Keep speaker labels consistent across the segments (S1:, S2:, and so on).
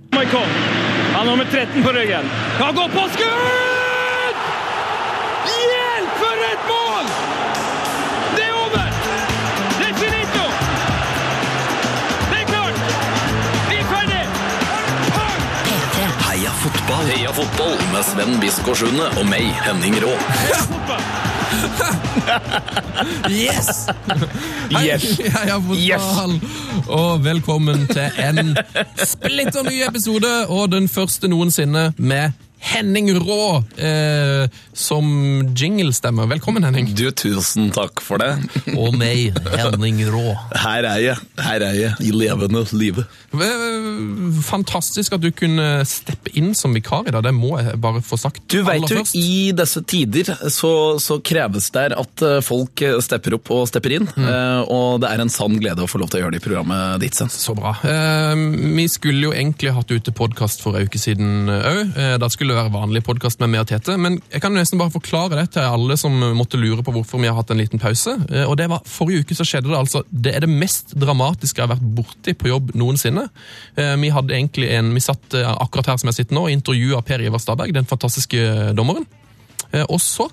S1: Noikov. Han har nummer 13 på ryggen. Kan gå på skudd! Hjelp for et mål! Det er over! Det er finito! Det er klart! Vi er ferdig! Pang!
S2: Heia fotball! Heia fotball med Sven Biskår Sunde og meg, Henning Rå.
S1: Fotball!
S3: Yes!
S4: Yes.
S3: Hei, heia fotball! Og velkommen til en splitter ny episode, og den første noensinne med Henning Rå eh, som jinglestemme. Velkommen, Henning.
S2: Du, tusen takk for det.
S3: Og meg, Henning Rå.
S2: Her er jeg. Her er jeg i levende live.
S3: Eh, Fantastisk at du kunne steppe inn som vikar i dag. Det må jeg bare få sagt
S4: Du vet
S3: aller
S4: jo,
S3: først.
S2: I disse tider så, så kreves det at eh, folk eh, stepper opp og stepper inn, eh, og det er en sann glede å få lov til å gjøre det i programmet ditt, Sven.
S3: Så bra. Eh, vi skulle jo egentlig hatt ute podkast for en uke siden òg. Eh, da skulle det være vanlig podkast med meg og Tete. Men jeg kan jo nesten bare forklare det til alle som måtte lure på hvorfor vi har hatt en liten pause. Eh, og det var Forrige uke så skjedde det altså Det er det mest dramatiske jeg har vært borti på jobb noensinne. Eh, vi hadde egentlig en, vi satt eh, akkurat her som jeg sitter nå, og intervjua Per Ivar Stabberg, den fantastiske dommeren. Eh, og så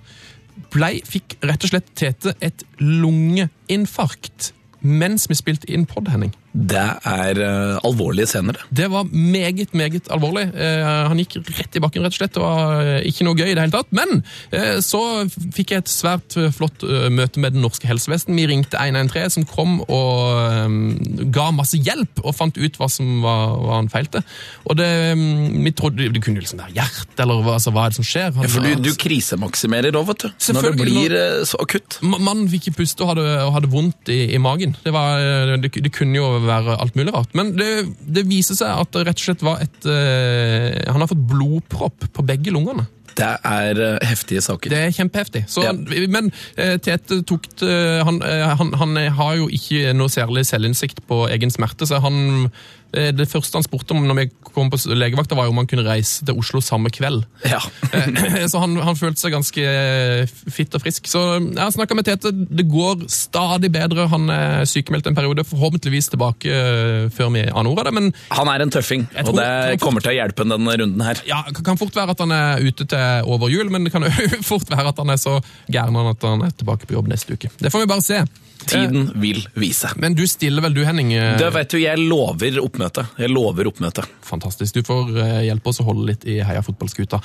S3: blei, fikk rett og slett Tete et lungeinfarkt mens vi spilte inn pod, Henning.
S2: Det er eh, alvorlige scener, det.
S3: Det var meget, meget alvorlig. Eh, han gikk rett i bakken, rett og slett. Det var eh, ikke noe gøy i det hele tatt. Men eh, så fikk jeg et svært eh, flott eh, møte med det norske helsevesen. Vi ringte 113, som kom og eh, ga masse hjelp, og fant ut hva som var, hva han feilte. Og det, eh, vi trodde det kunne jo liksom være hjerte, eller hva, altså, hva er det som skjer? Han,
S2: For du, du krisemaksimerer òg, vet du. Når det
S3: Selvfølgelig,
S2: blir eh, så akutt.
S3: Ma- Mannen fikk ikke puste og hadde, og hadde vondt i, i magen. Det, var, eh, det, det kunne jo være alt mulig rart. Men det, det viser seg at det rett og slett var et eh, Han har fått blodpropp på begge lungene.
S2: Det er eh, heftige saker.
S3: Det er kjempeheftig. Så,
S2: Ja.
S3: Men eh, Tete tok det- han, eh, han, han har jo ikke noe særlig selvinnsikt på egen smerte, så han eh, Det første han spurte om når vi kom på s- legevakta, var jo om han kunne reise til Oslo samme kveld.
S2: Ja.
S3: Eh, Så han, han følte seg ganske eh, fitt og frisk. Så eh, jeg har snakka med Tete. Det går stadig bedre. Han er sykemeldt en periode, forhåpentligvis tilbake eh, før vi aner ordet av det. Men
S2: Han er en tøffing,
S3: Jeg
S2: og
S3: tror-
S2: det
S3: jeg tror-
S2: kommer til å hjelpe ham denne runden her.
S3: ja, det kan fort være at han er ute til over jul, men det kan jo fort være at han er så gæren at han er tilbake på jobb neste uke. Det får vi bare se. Eh,
S2: Tiden vil vise.
S3: Men du stiller vel, du Henning? eh,
S2: Du vet jo, jeg lover oppmøte. Jeg lover oppmøte.
S3: Fantastisk. Du får eh, hjelpe oss å holde litt i heia fotballskuta.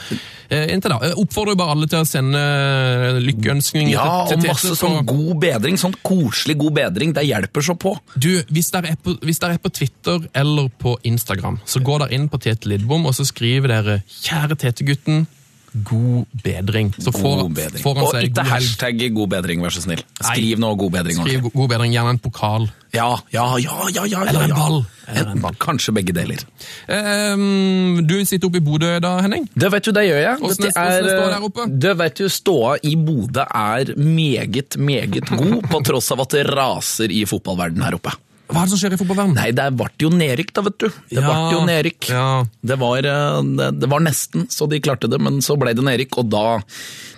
S3: Eh, Inntil da. eh, Oppfordrer jo bare alle til å sende eh, lykkeønskninger
S2: Ja,
S3: til,
S2: og
S3: til Tete.
S2: masse
S3: på-
S2: sånn god bedring. Sånn koselig god bedring. Det hjelper så på.
S3: Du, hvis dere, er på, hvis dere er på Twitter eller på Instagram, så går dere inn på Tete Lidbom, og så skriver dere 'Kjære Tete-gutten, god bedring'. Så får,
S2: God bedring.
S3: får han
S2: Og
S3: seg
S2: ikke
S3: god helg.
S2: hashtag god bedring, vær så snill. Skriv nå god bedring.
S3: Skriv
S2: ordentlig.
S3: go- god bedring, gjerne en pokal.
S2: Ja, ja, ja, ja, ja, ja,
S3: Eller
S2: ja.
S3: en ball. Eller en ball.
S2: Kanskje begge deler.
S3: Ehm, du sitter oppe i Bodø da, Henning?
S2: Det vet du, det gjør jeg.
S3: Åssen er-
S2: Dette er,
S3: åssen er ståa der oppe?
S2: Det vet du, ståa i Bodø er meget, meget god, på tross av at det raser i fotballverdenen her oppe.
S3: Hva er det som skjer i fotballverdenen?
S2: Nei, det ble jo nedrykk, da, vet du. Det
S3: Ja,
S2: ble jo nedrykk.
S3: ja.
S2: Det, var, eh, det, det var nesten så de klarte det, men så ble det nedrykk, og da,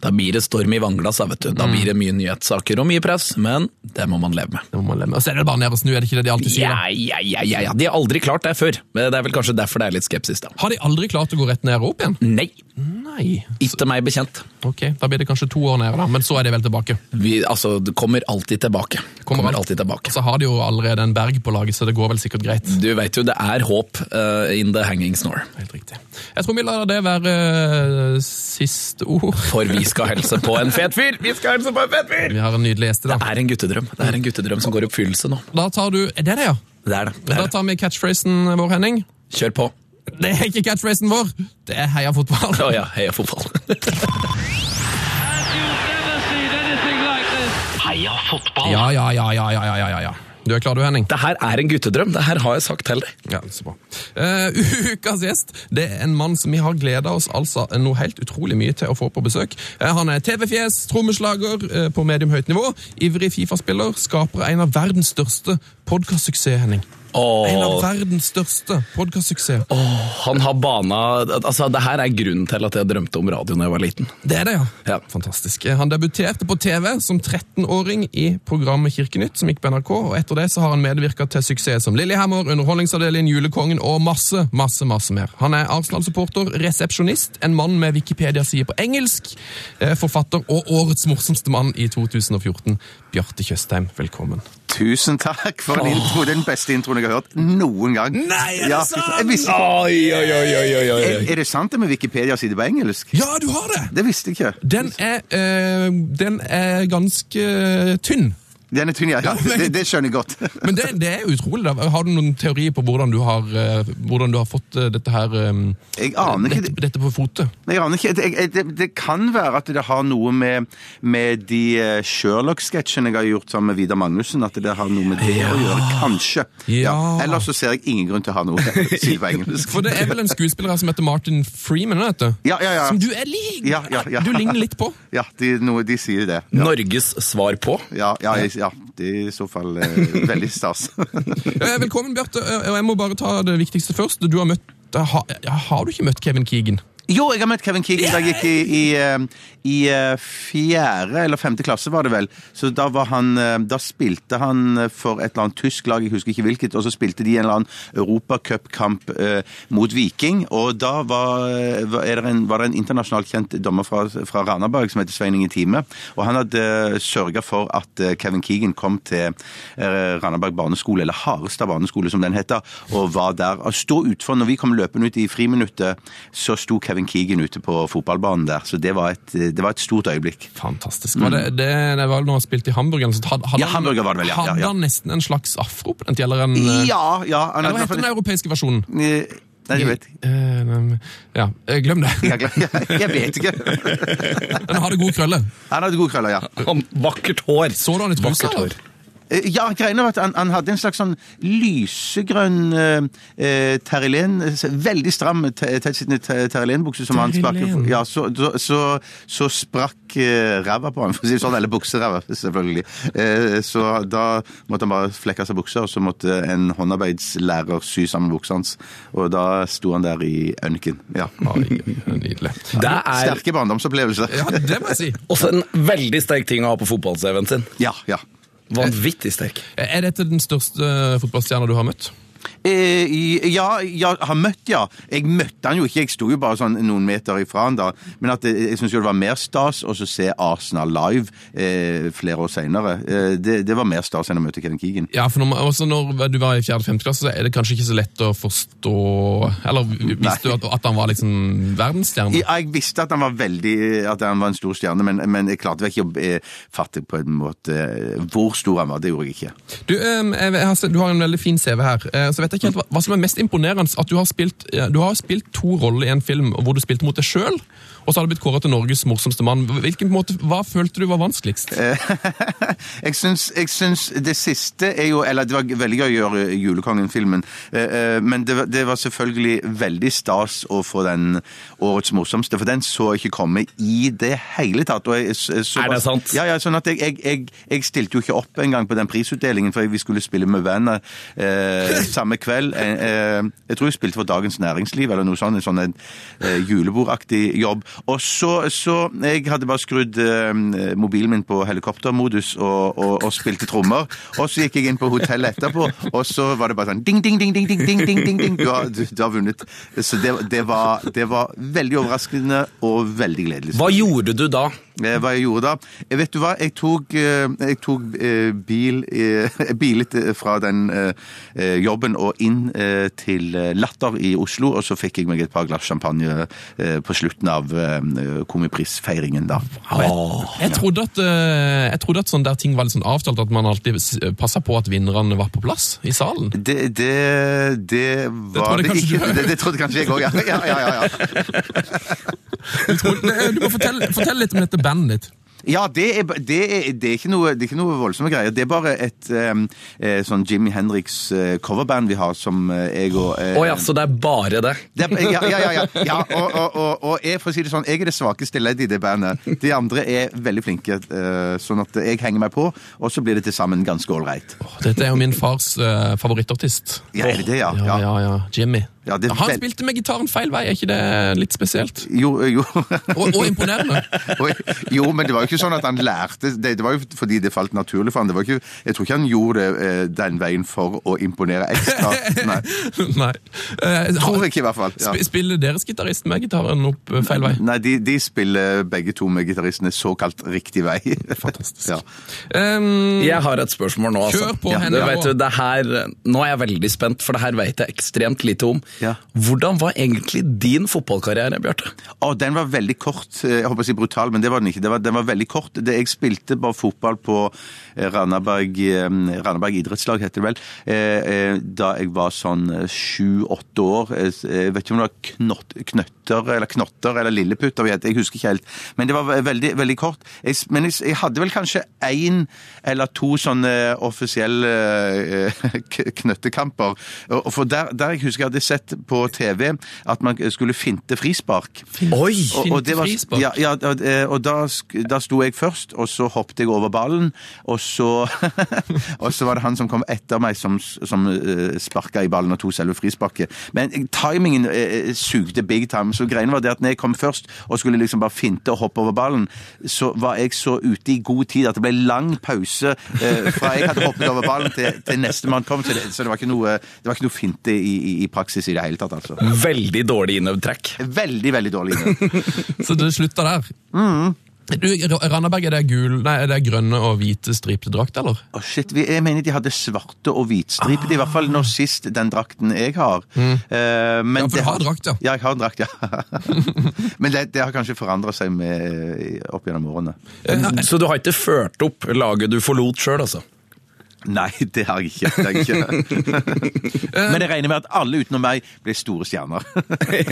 S2: da blir det storm i vannglass, da, vet du.
S3: Mm.
S2: Da blir det mye nyhetssaker og mye press, men det må man leve med.
S3: Det må man leve med. Og så er det bare ned og snu, er det ikke det de alltid sier? da?
S2: Ja, ja, ja, ja, ja. De har aldri klart det før. Men Det er vel kanskje derfor det er litt skepsis, da.
S3: Har de aldri klart å gå rett ned og opp igjen?
S2: Nei,
S3: Nei.
S2: ikke meg bekjent.
S3: Ok, da blir det kanskje to år nede, da, men så er de vel tilbake.
S2: Vi, altså, det kommer alltid tilbake. Kommer,
S3: alt-
S2: alltid tilbake.
S3: Så har de jo allerede en berg på laget, så det går vel sikkert greit.
S2: Du vet jo, det er håp eh, in the hanging snore.
S3: Helt riktig. Jeg tror vi lar det være eh, siste ord.
S2: For vi skal helse på en fet fyr! Vi skal helse på en fet fyr!
S3: Vi har en nydelig gjest i dag.
S2: Det er en guttedrøm. Det er en guttedrøm som går i oppfyllelse nå.
S3: Da tar du Er det det, ja?
S2: Det er det. det,
S3: Da
S2: er det.
S3: tar vi catchphrasen vår, Henning.
S2: Kjør på.
S3: Det er ikke catchphrasen vår! Det er heia fotball.
S2: Å ja, heia fotball.
S1: And you've never seen anything like this.
S5: Heia fotball!
S3: Ja, ja, ja, ja, ja, ja, ja, ja. Du er klar du, Henning?
S2: det her er en guttedrøm. Det her har jeg sagt til deg.
S3: Ja, så bra. Eh, ukas gjest det er en mann som vi har gleda oss altså noe helt utrolig mye til å få på besøk. Eh, han er TV-fjes, trommeslager eh, på medium høyt nivå, ivrig Fifa-spiller, skaper av en av verdens største podkastsuksess, Henning.
S2: Åh.
S3: En av verdens største podkastsuksesser.
S2: Han har bana Altså, det her er grunnen til at jeg drømte om radio da jeg var liten.
S3: Det er det, ja.
S2: Ja.
S3: Fantastisk. Han debuterte på TV som 13-åring i programmet Kirkenytt, som gikk på NRK, og etter det så har han medvirka til suksess som Lillehammer, Underholdningsavdelingen, Julekongen og masse, masse, masse mer. Han er Arsenal-supporter, resepsjonist, en mann med Wikipedia-side på engelsk, eh, forfatter og årets morsomste mann i 2014. Bjarte Tjøstheim, velkommen.
S4: Tusen takk for en intro. Det er den beste introen jeg har hørt noen gang. Ja, Jeg visste,
S2: Oi, oi, oi, oi, oi, oi.
S4: er, er det sant det med Wikipedia-side på engelsk?
S3: Ja, du har det!
S4: Det visste jeg ikke.
S3: Den er, eh, den er ganske eh, tynn.
S4: Den er tynn, ja. ja. Det, det skjønner jeg godt.
S3: Men det, det er utrolig. da. Har du noen teorier på hvordan du har, eh, hvordan du har fått eh, dette her eh,
S4: Jeg aner ikke.
S3: dette, dette på fotet?
S4: Nei, Jeg aner ikke. Det, jeg- det, det kan være at det har noe med, med de eh, Sherlock-sketsjene jeg har gjort sammen med Vidar Magnussen, at det har noe med det å gjøre. Kanskje.
S3: Ja.
S4: Ellers så ser jeg ingen grunn til å ha noe side på engelsk.
S3: For det er vel en skuespiller her som heter Martin Freeman, er det dette?
S4: Ja, ja, ja.
S3: Som du er lik!
S4: Ja, ja, ja.
S3: Du ligner litt på.
S4: Ja, de, noe, de sier det.
S2: Norges svar på?
S4: Ja, ja, jeg- ja, det er i så fall eh, veldig stas.
S3: Eh, Velkommen, Bjarte. Eh, Jeg må bare ta det viktigste først. Du har møtt eh, ha, ja, Har du ikke møtt Kevin Keegan?
S4: Jo, jeg har møtt Kevin Keegan da jeg gikk i, i, eh, i eh, fjerde eller femte klasse, var det vel. Så da, var han, eh, da spilte han eh, for et eller annet tysk lag, jeg husker ikke hvilket, og så spilte de en eller annen europacupkamp eh, mot Viking. Og da var, eh, var- er det en, var det en internasjonalt kjent dommer fra, fra Randaberg som heter Svein Inge Time, og han hadde sørga for at eh, Kevin Keegan kom til eh, Randaberg barneskole, eller Harestad barneskole som den heter, og var der. Og Stå utfor, når vi kom løpende ut i friminuttet, så sto Kevin Keegan ute på fotballbanen der. Så det var et, eh, det var et stort øyeblikk.
S3: Fantastisk. Var det, det, det var vel når han spilte i Hamburg? eller noe sånt. Hadde, hadde
S4: Ja,
S3: han-
S4: Hamburger var det vel, ja, ja,
S3: Hadde
S4: ja.
S3: han nesten en slags afro på den? Eller en, eh,
S4: Ja, ja. Han
S3: eller hva heter den europeiske versjonen?
S4: Eh, Nei, jeg vet ikke.
S3: Eh, nei, Ja, eh, glem det.
S4: Jeg, er glad- jeg vet ikke.
S3: Den hadde gode krøller.
S4: Han hadde gode krøller, ja.
S2: Han, vakkert hår.
S3: Så du han i trusa?
S2: Vakkert
S3: eller?
S2: hår.
S4: Eh, Ja, greiene var at han, han hadde en slags sånn lysegrønn eh, eh, terrelen, eh, veldig stram te- tettsittende te- terrelenbukse som han sprakk.
S3: Terrelen.
S4: Ja, så, så, så, så sprakk eh, ræva på han, for å si det sånn, eller bukseræva, selvfølgelig. Eh, så da måtte han bare flekke av seg buksa, og så måtte en håndarbeidslærer sy sammen buksa hans. Og da sto han der i ønken. Ja.
S3: Oi, Nydelig.
S2: Det er
S4: Sterke barndomsopplevelser.
S3: Ja, det må jeg si.
S2: også en veldig sterk ting å ha på fotball-CV-en sin.
S4: Ja, ja.
S2: Vanvittig sterk.
S3: Er dette den største fotballstjerna du har møtt?
S4: Eh, i- ja, ja, har møtt, ja. Jeg møtte han jo ikke, jeg sto jo bare sånn noen meter ifra han da. Men at det, jeg syns jo det var mer stas å så se Arsenal live eh, flere år seinere. Eh, det, det var mer stas enn å møte Kevin Keegan.
S3: Ja, for når, man- også når du var i 4.-5. klasse, så er det kanskje ikke så lett å forstå Eller visste du at, at han var liksom verdensstjerne?
S4: Ja, jeg visste at han var veldig At han var en stor stjerne, men, men jeg klarte vel ikke å eh, fatte på en måte eh, hvor stor han var. Det gjorde jeg ikke.
S3: Du, em, jeg jeg har, sett- du har en veldig fin CV her. eh, Så vet jeg ikke helt hva, hva som er mest imponerende. At du har spilt, eh, du har spilt to roller i en film hvor du spilte mot deg sjøl, og så har du blitt kåret til Norges morsomste mann. Hvilken måte, Hva følte du var vanskeligst?
S4: Jeg syns, jeg syns det siste er jo Eller det var veldig gøy å gjøre Julekongen-filmen, eh, eh, men det, var- det var selvfølgelig veldig stas å få den årets morsomste, for den så jeg ikke komme i det hele tatt. Og jeg, s- så
S2: Er det
S4: bare-
S2: sant?
S4: Ja, ja, sånn at jeg, jeg, jeg, jeg stilte jo ikke opp engang på den prisutdelingen, for vi skulle spille med venner eh, samme kveld. Eh, eh, jeg tror jeg spilte for Dagens Næringsliv, eller noe sånt, en sånn eh, julebordaktig jobb. Og så, så Jeg hadde bare skrudd eh, mobilen min på helikoptermodus og, og, og spilte trommer. Og så gikk jeg inn på hotellet etterpå, og så var det bare sånn ding, ding, ding, ding, ding, ding, ding, ding, ding. Du, har, du, du har vunnet. Så det, det, var, det var veldig overraskende og veldig gledelig.
S2: Hva gjorde du da?
S4: Eh, Hva jeg gjorde da? Eh, Vet du hva? Jeg tok, eh, jeg tok eh, bil, eh, bilet eh, fra den eh, eh, jobben og inn eh, til eh, Latter i Oslo, og så fikk jeg meg et par glass champagne eh, på slutten av eh, komiprisfeiringen da.
S3: Jeg trodde at, eh, jeg trodde at sånn der ting var litt sånn avtalt, at man alltid s- passet på at vinnerne var på plass i salen.
S4: Det, det, det var
S3: trodde
S4: det,
S3: kanskje
S4: ikke.
S3: du-
S4: Det, det trodde kanskje jeg òg, ja. Ja, ja, ja, ja.
S3: Du må fortelle, fortelle litt om dette bandet ditt.
S4: Ja, det er, ba- det er, det er, ikke, noe, det er ikke noe voldsomme greier. Det er bare et ehm, eh, sånn Jimmy Henriks eh, coverband vi har som eh, jeg og eh,
S2: Å ja, så det er bare det.
S4: det er, ja, ja, ja, ja. ja og, og, og, og jeg, for å si det sånn, jeg er det svakeste leddet i det bandet. De andre er veldig flinke, eh, sånn at jeg henger meg på, og så blir det til sammen ganske ålreit.
S3: Åh, Dette er jo min fars eh, favorittartist.
S4: Ja, er det det, ja?
S3: Ja,
S4: ja.
S3: ja, ja. Jimmy.
S4: Ja, det er
S3: Han
S4: vel-
S3: spilte med gitaren feil vei, er ikke det litt spesielt?
S4: Jo, eh, jo.
S3: Og, og imponerende.
S4: Og- jo, men det var jo ikke sånn at han lærte det, det var jo fordi det falt naturlig for han. Det var ikke, jeg tror ikke han gjorde det eh, den veien for å imponere ekstra. Nei,
S3: Nei. Eh,
S4: tror jeg ikke i hvert fall. Ja.
S3: sp- Spiller deres gitarist med gitaren opp eh, feil vei?
S4: Nei, de, de spiller begge to med gitaristene såkalt riktig vei.
S3: Fantastisk.
S4: Ja.
S3: Ehm,
S2: Jeg har et spørsmål nå. Altså.
S3: Kjør på,
S2: Ja,
S3: Henry,
S2: du vet
S3: ja.
S2: jo, det her, nå er jeg veldig spent, for det her vet jeg ekstremt lite om.
S4: Ja.
S2: Hvordan var egentlig din fotballkarriere, Bjarte?
S4: Å, den var veldig kort. Eh, Jeg håper å si brutal, men det var den ikke. Det var, den var veldig kort. Det, jeg spilte bare fotball på eh, Randaberg, eh, Randaberg idrettslag, heter det vel, eh, eh, da jeg var sånn sju-åtte år. Eh, s- eh, Jeg vet ikke om det var knott, knøtter eller knotter eller lilleputter, vi het. jeg husker ikke helt. Men det var ve- veldig, veldig kort. Jeg, s- men jeg, s- jeg hadde vel kanskje én eller to sånne offisielle eh, k- knøttekamper. Og- og For der, der jeg husker jeg hadde sett på TV at man skulle finte frispark.
S2: Oi!
S4: Og, og, det var,
S3: frispark.
S4: ja, ja, og, eh, og da, sk- da sto jeg først, og så hoppet jeg over ballen, og så, og så var det han som kom etter meg som, som eh, sparka i ballen og tok selve frisparket. Men timingen eh, sugde big time, så greien var det at når jeg kom først og skulle liksom bare finte og hoppe over ballen, så var jeg så ute i god tid at det ble lang pause eh, fra jeg hadde hoppet over ballen til, til nestemann kom, så, det, så det, var ikke noe, eh, det var ikke noe finte i, i, i praksis i det hele tatt, altså.
S2: Veldig dårlig innøvd trekk.
S4: Veldig, veldig dårlig.
S3: Så det slutter der.
S4: Mm.
S3: Du, Ra- Randaberg, er det, gul, nei, er det grønne og hvite stripte drakt, eller?
S4: Å, shit, vi, jeg mener de hadde svarte og hvitstripet, i hvert fall nå sist den drakten jeg har. Eh, men
S3: Ah. Mm. Ja, for
S4: det
S3: du har drakt, ja.
S4: Ja, jeg har en drakt, ja. men det, det har kanskje forandra seg med, eh, opp gjennom årene.
S2: Så du har ikke ført opp laget du forlot sjøl, altså?
S4: Nei, det har jeg ikke. Det har jeg ikke. men jeg regner med at alle utenom meg blir store stjerner.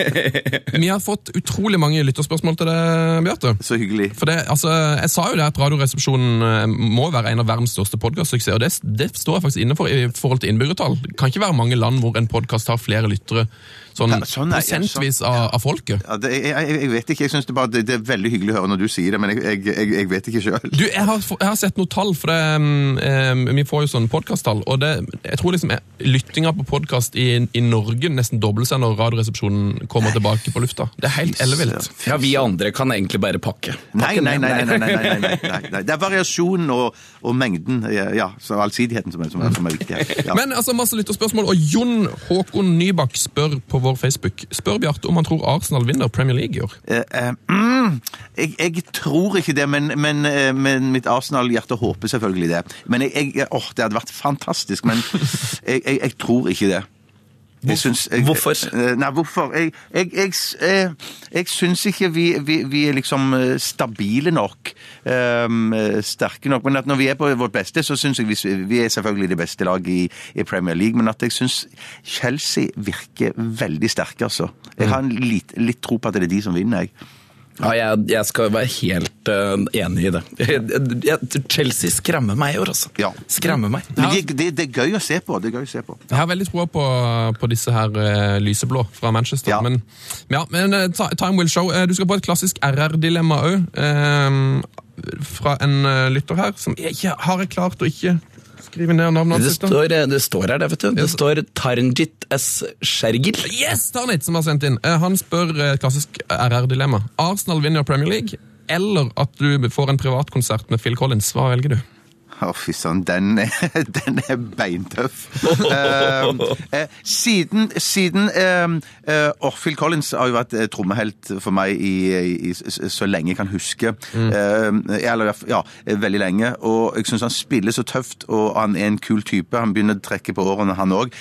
S3: Vi har fått utrolig mange lytterspørsmål til deg, Bjarte.
S4: Så hyggelig.
S3: For det, altså, Jeg sa jo det at Radioresepsjonen eh, må være en av verdens største podkastsuksesser. Og det, det står jeg faktisk inne for i forhold til innbyggertall. Det kan ikke være mange land hvor en podkast har flere lyttere sånn,
S4: Ja, sånn er- ja,
S3: prosentvis av, av folket.
S4: Ja, det, jeg, jeg, jeg vet ikke. Jeg syns det, bare- det, det er veldig hyggelig å høre når du sier det, men jeg, jeg, jeg, jeg vet ikke sjøl.
S3: Du, jeg har, få- jeg har sett noen tall, for det, mm, eh, vi får jo sånne podkasttall. Og det, jeg tror liksom eh, lyttinga på podkast i, i Norge nesten dobler seg når Radioresepsjonen kommer tilbake på lufta. Det er helt ellevilt.
S2: Ja, vi andre kan egentlig bare pakke.
S4: Nei,
S2: Pakke
S4: nei,
S2: ned.
S4: nei, nei, nei, nei, nei, nei, nei, nei. Det er variasjonen og, og mengden, ja, så allsidigheten som er, som er, som er viktig her. Ja.
S3: Men altså, masse lytterspørsmål, og Jon Håkon Nybakk spør på vår Facebook Spør Bjarte om han tror Arsenal vinner Premier League i år.
S4: Eh, eh, mm, jeg, jeg tror ikke det, men, men, eh, men mitt Arsenal-hjerte håper selvfølgelig det. Men jeg, jeg, åh, Det hadde vært fantastisk, men jeg, jeg, jeg tror ikke det. Jeg syns- jeg-
S2: Hvorfor?
S4: Eh, Nei, hvorfor? Jeg, jeg, jeg, s- eh, jeg syns ikke vi, vi, vi er liksom eh, stabile nok. ehm, eh, sterke nok. Men at når vi er på vårt beste, så syns jeg vi, s- vi er selvfølgelig det beste laget i, i Premier League. Men at jeg syns Chelsea virker veldig sterke, altså. Jeg har en litt, litt tro på at det er de som vinner, jeg.
S2: Ja, jeg, jeg skal være helt eh, enig i det. Jeg, jeg, Chelsea skremmer meg i år, altså.
S4: Ja.
S2: Skremmer meg.
S4: Men det, det, det er gøy å se på. Det er gøy å se på.
S3: Jeg har veldig troa på, på disse her eh, lyseblå fra Manchester.
S4: Ja.
S3: Men, men ja, men eh, ti- time will show. Eh, du skal på et klassisk RR-dilemma òg. fra en eh, lytter her som jeg ikke har jeg klart å ikke skrive ned navnet
S2: Det
S3: hans. da?
S2: står, det står her, det, vet du. Det står Tarnjit S. Shergil.
S3: Yes, Tarnit som har sendt inn. Eh, han spør eh, et klassisk RR-dilemma. Arsenal vinner Premier League, eller at du får en privatkonsert med Phil Collins. Hva velger du?
S4: Å, fy søren, den, er- den er beintøff. Ehm, eh, siden siden ehm, eh, åh, Phil Collins har jo vært eh, trommehelt for meg i, i, i, så så lenge jeg kan huske. Ehm, eller, i hvert fall- ja, eh, veldig lenge. Og jeg syns han spiller så tøft, og han er en kul type. Han begynner å trekke på årene, han òg.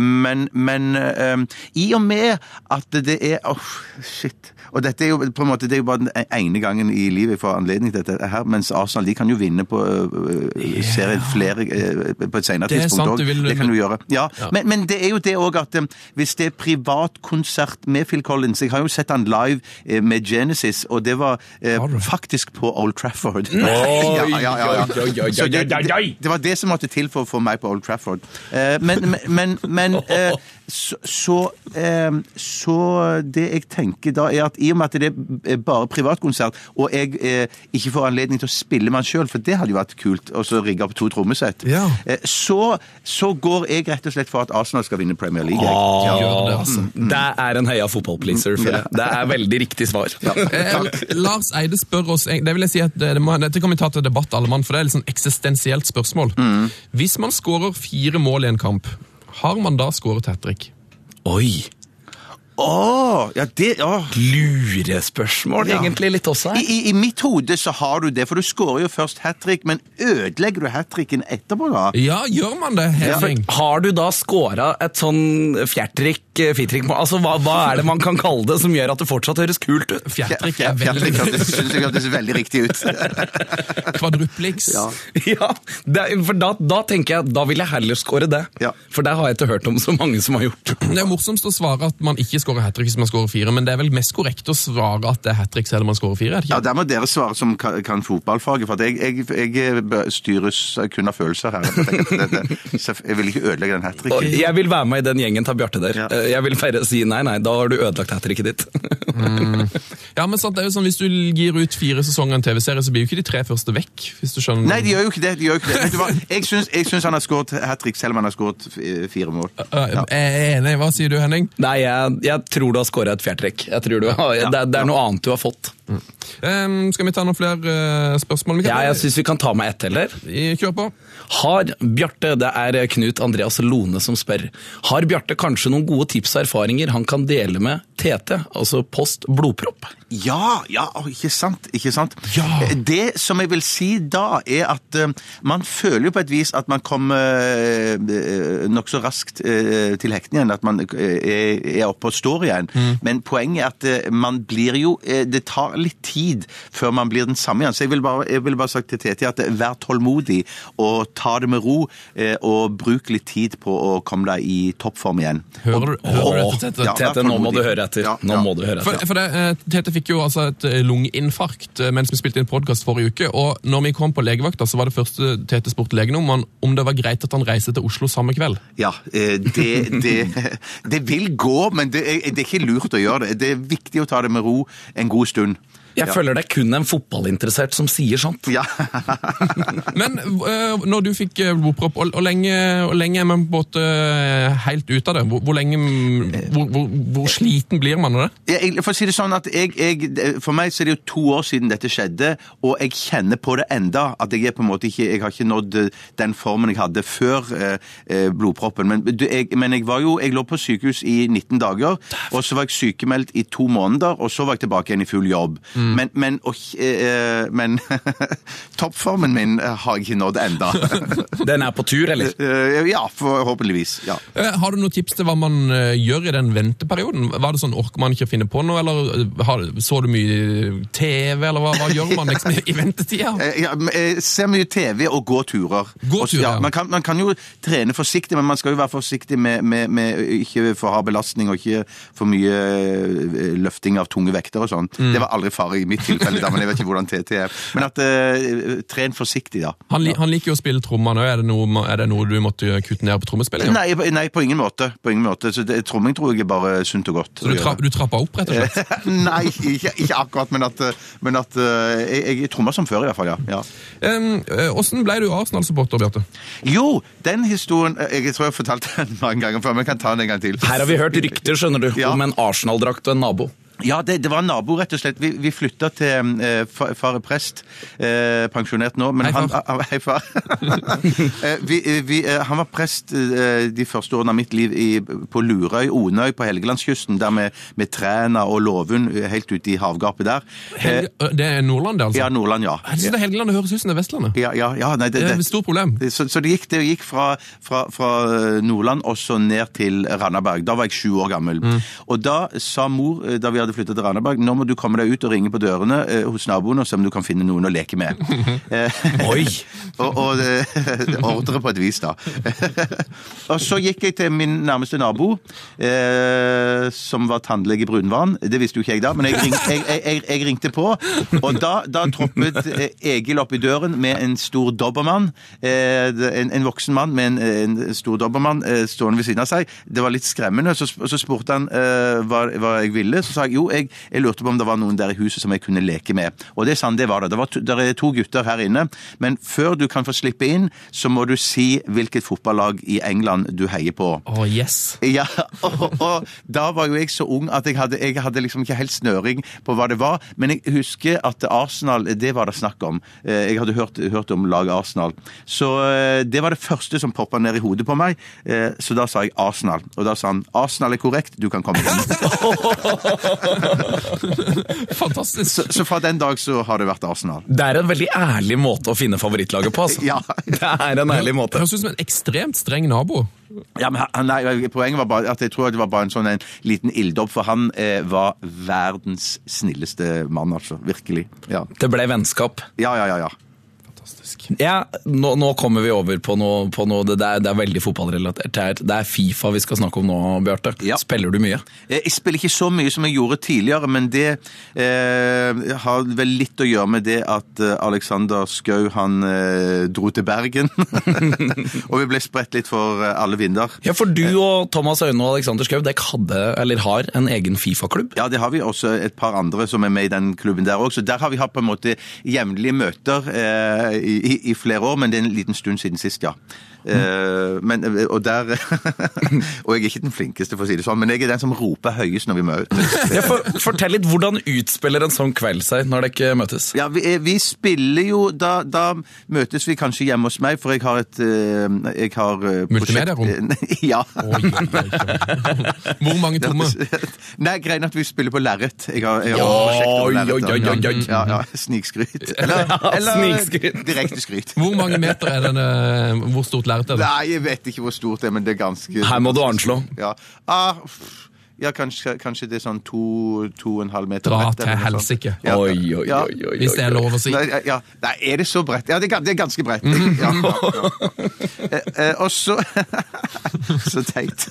S4: men men ehm, i og med at det er Åh, shit. Og dette er jo e-, på en måte, det er jo bare den ene gangen i livet jeg får anledning til dette her, mens Arsenal de kan jo vinne på øh, øh, eh, serien flere eh, på et senere
S3: Det er
S4: tidspunkt
S3: sant, du
S4: også.
S3: vil-
S4: Det kan du gjøre. Ja.
S3: Ja.
S4: Men, men det er jo det òg at eh, hvis det er privatkonsert med Phil Collins Jeg har jo sett han live eh, med Genesis, og det var eh,
S3: Har du?
S4: faktisk på Old Trafford.
S2: Oi,
S4: Ja, ja, ja, ja.
S2: oi, oi, oi,
S4: Så det-
S2: oi, oi, oi.
S4: det- Det var det som måtte til for å få meg på Old Trafford. Eh, Men, men, men eh, så, så, eh, så det jeg tenker da, er at i og med at det er bare privatkonsert, og jeg eh, ikke får anledning til å spille med han sjøl, for det hadde jo vært kult, og så rigge opp to trommesett,
S3: Ja.
S4: eh, så, så går jeg rett og slett for at Arsenal skal vinne Premier League. jeg.
S3: Ja, gjør det, altså.
S2: Ah. Mm. Det er en heia fotballpleaser, føler jeg. Det er veldig riktig svar.
S3: Eh, Lars Eide spør oss Det vil jeg si at eh, det, det må, Dette kan vi ta til debatt, alle mann, for det er et sånn eksistensielt spørsmål.
S4: Mm.
S3: Hvis man skårer fire mål i en kamp, har man da skåret hat trick?
S2: Oi!
S4: Åh, ja, det, åh.
S2: Lurespørsmål,
S4: Ja.
S2: egentlig, litt også
S4: I,
S2: her.
S4: i, I mitt hode så har du det, for du skårer jo først hat trick, men ødelegger du hat tricken etterpå, da?
S3: Ja, gjør man det, Henning?
S2: Har du da scora et sånn fjertrikk, fitrikk Altså, hva, hva er det man kan kalle det som gjør at det fortsatt høres kult ut?
S3: Fjertrikk
S4: Ja,
S3: er veldig
S4: Fjertrykk hørtes- synes jeg hørtes veldig riktig ut.
S3: Kvadrupliks.
S4: altså. Ja.
S2: Ja, det, er- for da, da tenker jeg da vil jeg heller score det.
S4: Ja.
S2: For det har jeg ikke hørt om så mange som har gjort.
S3: Det er morsomst å svare at man ikke skårer hat trick hvis man skårer fire, men det er vel mest korrekt å svare at det er hat trick selv om man skårer fire? er det
S4: Ja,
S3: ikke?
S4: Der må dere svare som kan, kan fotballfaget, for at jeg, jeg, jeg bør- styres kun av følelser her. Jeg, tenker at det- det- så jeg vil ikke ødelegge den hat
S2: Og
S4: tricken.
S2: jeg vil være med i den gjengen til Bjarte der.
S4: Ja.
S2: Eh, Jeg vil bare si nei, nei, da har du ødelagt hattrikket ditt.
S3: Ja, men sant, det er jo sånn, Hvis du gir ut fire sesonger av en TV-serie, så blir jo ikke de tre første vekk. hvis du skjønner.
S4: Nei, de gjør jo ikke det. De gjør jo ikke det. Vet du hva? Jeg syns, jeg syns han har skåret hat trick selv om han har skåret f- fire mål.
S3: Øh, Jeg er enig. Hva sier du, Henning?
S2: Nei, jeg, jeg tror du har scora et fjertrekk. Jeg tror du har, det, er- det er noe annet du har fått.
S3: Ehm, skal vi ta noen flere eh, spørsmål? Vi kan-
S2: Ja, jeg syns vi kan ta med ett heller.
S3: I- Kjør på.
S2: Har Bjarte, det er Knut Andreas Lone som spør, har Bjarte kanskje noen gode tips og erfaringer han kan dele med TT, altså post blodpropp?
S4: Ja, ja, å, ikke sant, ikke sant.
S3: Ja.
S4: Eh, Det som jeg vil si da, er at eh, man føler jo på et vis at man kommer eh, nokså raskt eh, til hektene igjen, at man eh, er, er oppe og står igjen. Men poenget er at eh, man blir jo eh, Det tar litt tid før man blir den samme igjen. Så jeg vil bare, jeg vil bare sagt til Tete at eh, vær tålmodig og ta det med ro, eh, og bruk litt tid på å komme deg i toppform igjen.
S3: Hører du, hører du
S2: Åh,
S3: dette? Tete?
S4: Ja.
S2: Tete, nå må du høre etter.
S4: Ja,
S2: Nå
S4: ja.
S2: må du høre
S3: For,
S2: etter.
S3: for det, eh, Tete fikk jo altså et eh, lungeinfarkt eh, mens vi spilte inn podkast forrige uke. og når vi kom på legevakta, så var det første Tete spurte legen om han, om det var greit at han reiste til Oslo samme kveld.
S4: Ja, eh, det, det, det vil gå, men det er, det er ikke lurt å gjøre det. Det er viktig å ta det med ro en god stund.
S2: Jeg føler det er kun en fotballinteressert som sier sånt.
S4: Ja.
S3: Men eh, når du fikk eh, blodpropp, og, og, lenge, og lenge er man på en måte eh, helt ute av det? Hvor, hvor, lenge, hvor, hvor, hvor sliten blir man av det?
S4: Jeg, for å si det sånn at jeg, jeg, for meg så er det jo to år siden dette skjedde, og jeg kjenner på det enda, at jeg er på en måte ikke, jeg har ikke nådd eh, den formen jeg hadde før eh, eh, blodproppen. Men, du, jeg, men jeg var jo, jeg lå på sykehus i 19 dager, og så var jeg sykemeldt i to måneder, og så var jeg tilbake igjen i full jobb. Men, men, og, eh, eh, men toppformen min eh, har jeg ikke nådd enda.
S2: Den er på tur, eller?
S4: Eh, Ja, forhåpentligvis. Ja.
S3: Eh, Har du noen tips til hva man eh, gjør i den venteperioden? Var det sånn, Orker man ikke å finne på noe, eller eh, har, så du mye TV, eller hva, hva gjør man liksom, i ventetida?
S4: Eh, ja men, eh, se mye TV og gå turer.
S3: Gå
S4: Og så-
S3: turer, ja.
S4: ja. Man kan, man kan jo trene forsiktig, men man skal jo være forsiktig med, med, med ikke for hard belastning og ikke for mye eh, løfting av tunge vekter og sånt.
S3: Mm.
S4: Det var aldri fare i mitt tilfelle, da, men jeg vet ikke hvordan TT er. Men at eh, tren forsiktig, da.
S3: Han, li, han liker jo å spille trommer nå. Er det noe, ma- er det noe du måtte kutte ned på trommespillinga?
S4: Nei, på- nei, på ingen måte. På ingen måte. Så det, tromming tror jeg er bare sunt og godt.
S3: Så du,
S4: å gjøre.
S3: tra, du trappa opp, rett og slett?
S4: nei, ikke, ikke akkurat, men at, eh, men at eh, jeg, jeg trommer som før, i hvert fall. ja. ja.
S3: Um, eh, Åssen ble du Arsenal-supporter, Bjarte?
S4: Jo, den historien eh, Jeg tror jeg har fortalt den mange ganger før, men jeg kan ta den en gang til.
S2: Her har vi hørt rykter skjønner du,
S4: Ja.
S2: om en Arsenal-drakt og en nabo.
S4: Ja, det, det var en nabo, rett og slett. Vi, vi flytta til eh, fa- far er prest, eh, pensjonert nå. Men
S3: Hei,
S4: han,
S3: far.
S4: ah, hei, far. Eh, vi, eh, vi, eh, han var prest eh, de første årene av mitt liv i, på Lurøy, Onøy, på Helgelandskysten. Der med, med Træna og Låvund, eh, helt ute i havgapet der. Eh,
S3: Helge, øh, det er Nordland, det, altså?
S4: ja, Nordland, ja.
S3: Jeg synes det er Helgeland det høres ut som det er Vestlandet.
S4: Ja, ja, ja nei, det,
S3: Det er
S4: det-
S3: et stort problem.
S4: Det- Så, så det gikk, det gikk fra, fra, fra Nordland også ned til Randaberg. Da var jeg sju år gammel. Og da sa mor, eh, da vi hadde du flytter til Randaberg, nå må du komme deg ut og ringe på dørene eh, hos naboene og se om du kan finne noen å leke med. Eh,
S2: Oi!
S4: og og eh, ordre på et vis, da. og så gikk jeg til min nærmeste nabo, eh, som var tannlege Brunvann. Det visste jo ikke jeg da, men jeg, ring, jeg, jeg, jeg, jeg ringte på. Og da, da troppet eh, Egil opp i døren med en stor dobbermann. Eh, det- en, en voksen mann med en, en stor dobbermann eh, stående ved siden av seg. Det var litt skremmende. Så, sp- så spurte han eh, hva, hva jeg ville. Så sa jeg jo, jeg, jeg lurte på om det var noen der i huset som jeg kunne leke med. Og det er sant, det var det. Det var to, der er to gutter her inne. Men før du kan få slippe inn, så må du si hvilket fotballag i England du heier på.
S3: Å, yes.
S4: Ja, og, og da var jo jeg så ung at jeg hadde, jeg hadde liksom ikke helt snøring på hva det var. Men jeg husker at Arsenal, det var det snakk om. Eh, Jeg hadde hørt, hørt om laget Arsenal. Så eh, det var det første som poppa ned i hodet på meg. Eh, Så da sa jeg Arsenal. Og da sa han Arsenal er korrekt, du kan komme inn.
S3: Fantastisk.
S4: Så, så fra den dag så har det vært Arsenal.
S2: Det er en veldig ærlig måte å finne favorittlaget på, altså.
S4: Ja.
S2: Det er en ærlig måte.
S3: Høres ut som en ekstremt streng nabo.
S4: Ja, men han, nei, Poenget var bare at jeg tror det var bare en sånn en liten ilddåp, for han eh, var verdens snilleste mann, altså. Virkelig. Ja,
S2: Det ble vennskap.
S4: ja, ja. ja, ja.
S3: Fantastisk.
S2: Ja, nå, nå kommer vi over på noe, på noe det, er, det er veldig fotballrelatert. Det er- Det er Fifa vi skal snakke om nå, Bjarte.
S4: Ja.
S2: Spiller du mye?
S4: Eh, Jeg spiller ikke så mye som jeg gjorde tidligere, men det eh, har vel litt å gjøre med det at eh, Alexander Skau han eh, dro til Bergen. og vi ble spredt litt for eh, alle vinder.
S2: Ja, for
S4: Eh.
S2: du og Thomas Aune og Alexander Schou dere hadde, eller har, en egen Fifa-klubb.
S4: Ja, det har vi også et par andre som er med i den klubben der òg, så der har vi hatt på en måte jevnlige møter eh, i, i, i flere år, men det er en liten stund siden sist, ja. Eh, men, eh, og der Og jeg er ikke den flinkeste, for å si det sånn, men jeg er den som roper høyest når vi møtes.
S2: Ja, for, fortell litt, hvordan utspiller en sånn kveld seg når dere møtes?
S4: Ja, vi, eh, vi spiller jo da, da møtes vi kanskje hjemme hos meg, for jeg har et eh, jeg har, eh,
S3: Multimedierom?
S4: prosjekt- ja.
S3: Oi, oi, oi. Hvor mange tomme?
S4: Nei, greia er at vi spiller på lerret. Jeg har, jeg har
S2: Oi,
S4: prosjekt over lerret,
S2: oi, oi,
S4: da.
S2: oi, oi.
S4: Ja, ja, Snikskryt. Eller,
S2: Ja, snikskryt.
S4: eller direkte skryt.
S3: Hvor mange meter er denne Hvor stort lerret er det?
S4: Nei, jeg vet ikke hvor stort det er, men det er ganske
S2: Her må du anslå.
S4: Ja, ah, pff, ja kanskje, kanskje det er sånn to, to og en halv meter
S3: Dra
S4: bredt,
S3: til
S4: eller noe sånt.
S3: helsike.
S4: Ja.
S2: Oi, oi, oi,
S4: Ja.
S2: oi, oi, oi.
S3: Hvis det er lov å si.
S4: Nei, ja. Nei, er det så bredt? Ja, det er, ga- det er ganske bredt.
S2: Mhm.
S4: Ja, ja, ja. Eh, eh, og så Så teit.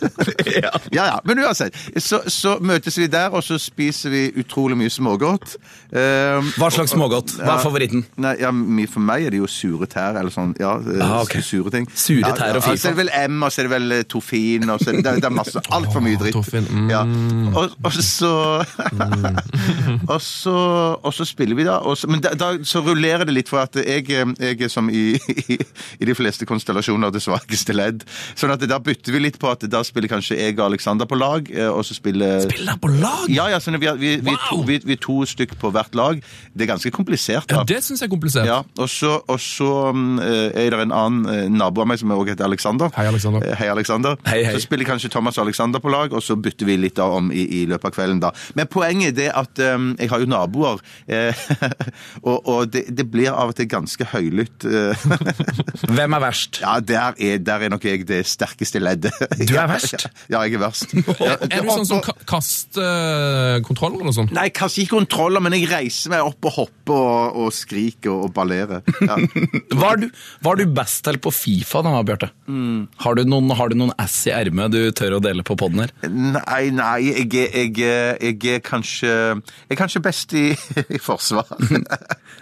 S4: Ja, ja. Men uansett. Så, så møtes vi der, og så spiser vi utrolig mye smågodt. Um,
S2: Hva slags smågodt? Hva er favoritten?
S4: Nei, ja, mi- For meg er det jo sure tær, eller sånn. Ja, eh,
S2: Ah, ok.
S4: sure ting.
S2: Sure
S4: Ja,
S2: tær og
S4: ja,
S2: FIFA.
S4: Så er det vel M, og så er det vel eh, Toffin, og så er det, det er- det er masse Altfor mye
S3: Åh,
S4: dritt.
S3: Toffin, mm.
S4: Ja. Og, og så og så, og så spiller vi, da. Og så, men da, da så rullerer det litt, for at jeg, eh, jeg er som i, i, i de fleste konstellasjoner det svakeste ledd. Sånn at da bytter vi litt på at da spiller kanskje jeg og Alexander på lag, eh, og så spiller
S3: Spiller på lag!
S4: ja, ja, sånn at vi, vi, vi, er to,
S3: Wow!
S4: vi, vi er to stykk på hvert lag. Det er ganske komplisert.
S3: Ja,
S4: da.
S3: det syns jeg er komplisert.
S4: Ja, og så, og så mm, eh, er det en annen eh, nabo av meg som også heter Alexander.
S3: Hei, Alexander.
S4: Eh, Hei, Alexander.
S2: Hei, hei.
S4: Så spiller kanskje Thomas og Alexander på lag, og så bytter vi litt av om i, i løpet av kvelden da. Men poenget er det at eh, jeg har jo naboer, eh, og, og det, det blir av og til ganske høylytt. eh.
S2: Hvem er verst?
S4: ja, der er, der er nok jeg det sterkeste leddet.
S2: Du er verst.
S4: Ja, jeg er verst.
S3: Er du sånn som
S4: Altså-
S3: ka kaster kontroller og sånn?
S4: Nei, kanskje ikke kontroller, men jeg reiser meg opp og hopper og, og skriker og, og ballerer. Ja.
S2: Hva er du, hva er du best til på Fifa da, Bjarte?
S4: Mm.
S2: Har, du noen- har du noen ass i ermet du tør å dele på podden her?
S4: Nei, nei, jeg, er- jeg, er- jeg er kanskje Jeg er kanskje best i, i forsvar.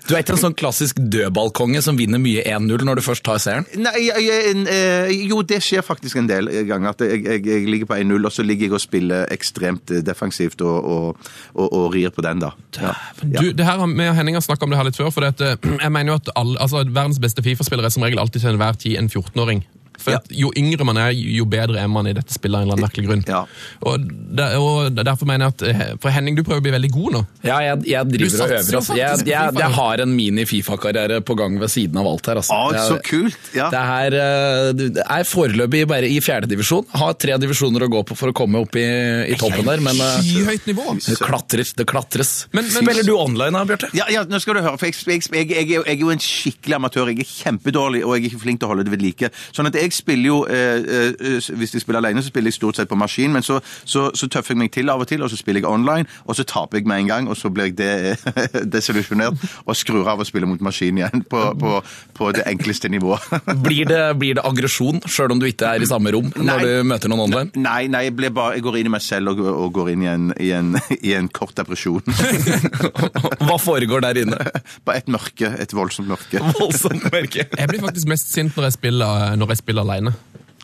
S2: Du er ikke en sånn klassisk dødballkonge som vinner mye 1-0 når du først tar seieren?
S4: Nei, jeg, jeg, en, eh, jo, det skjer faktisk en del ganger. At jeg, jeg, jeg ligger på 1-0, og så ligger jeg og spiller ekstremt eh, defensivt og, og, og, og rir på den, da. Ja. Ja.
S3: Du, det her, har- Vi og Henning har snakka om det her litt før. for det at, eh, jeg mener jo at alle, altså, Verdens beste Fifa-spillere er som regel alltid til enhver tid en 14-åring. For at Jo yngre man er, jo bedre er man i dette spillet. av en eller annen merkelig grunn.
S4: Ja.
S3: Og, der, og Derfor mener jeg at eh, For Henning, du prøver å bli veldig god nå.
S2: Ja, jeg, jeg driver og
S3: Du satser
S2: øver.
S3: jo
S2: Altså. Jeg,
S3: faktisk på
S2: jeg,
S3: Fifa,
S2: jeg
S3: du. Ah,
S2: har en mini-Fifa-karriere på gang ved siden av alt her. Altså.
S4: Å,
S2: Det er-
S4: så kult! Ja.
S2: Det er, eh, det er foreløpig bare i fjerdedivisjon. Har tre divisjoner å gå på for å komme opp i, i toppen der, men eh,
S3: Skyhøyt nivå!
S2: det klatrer, det klatres.
S3: Men- men-
S2: Spiller du online da, Bjarte?
S4: Ja, ja, nå skal du høre, for jeg, jeg, jeg, jeg, er jo- jeg er jo en skikkelig amatør. Jeg er kjempedårlig, og jeg er ikke flink til å holde det ved like. Sånn at jeg spiller jo eh, eh, Hvis jeg spiller alene, så spiller jeg stort sett på maskin, men så, så, så tøffer jeg meg til av og til, og så spiller jeg online, og så taper jeg med en gang, og så blir jeg de desillusjonert og skrur av og spiller mot maskin igjen på, på, på det enkleste nivået.
S2: Blir det, blir det aggresjon, sjøl om du ikke er i samme rom når du møter noen online?
S4: Nei, nei, jeg, blir bare, jeg går inn i meg selv og, og går inn i en, i en, i en kort depresjon.
S2: Hva foregår der inne?
S4: Bare et mørke, et voldsomt mørke.
S2: Voldsomt mørke.
S3: Jeg blir faktisk mest sint når jeg spiller, når jeg spiller alene.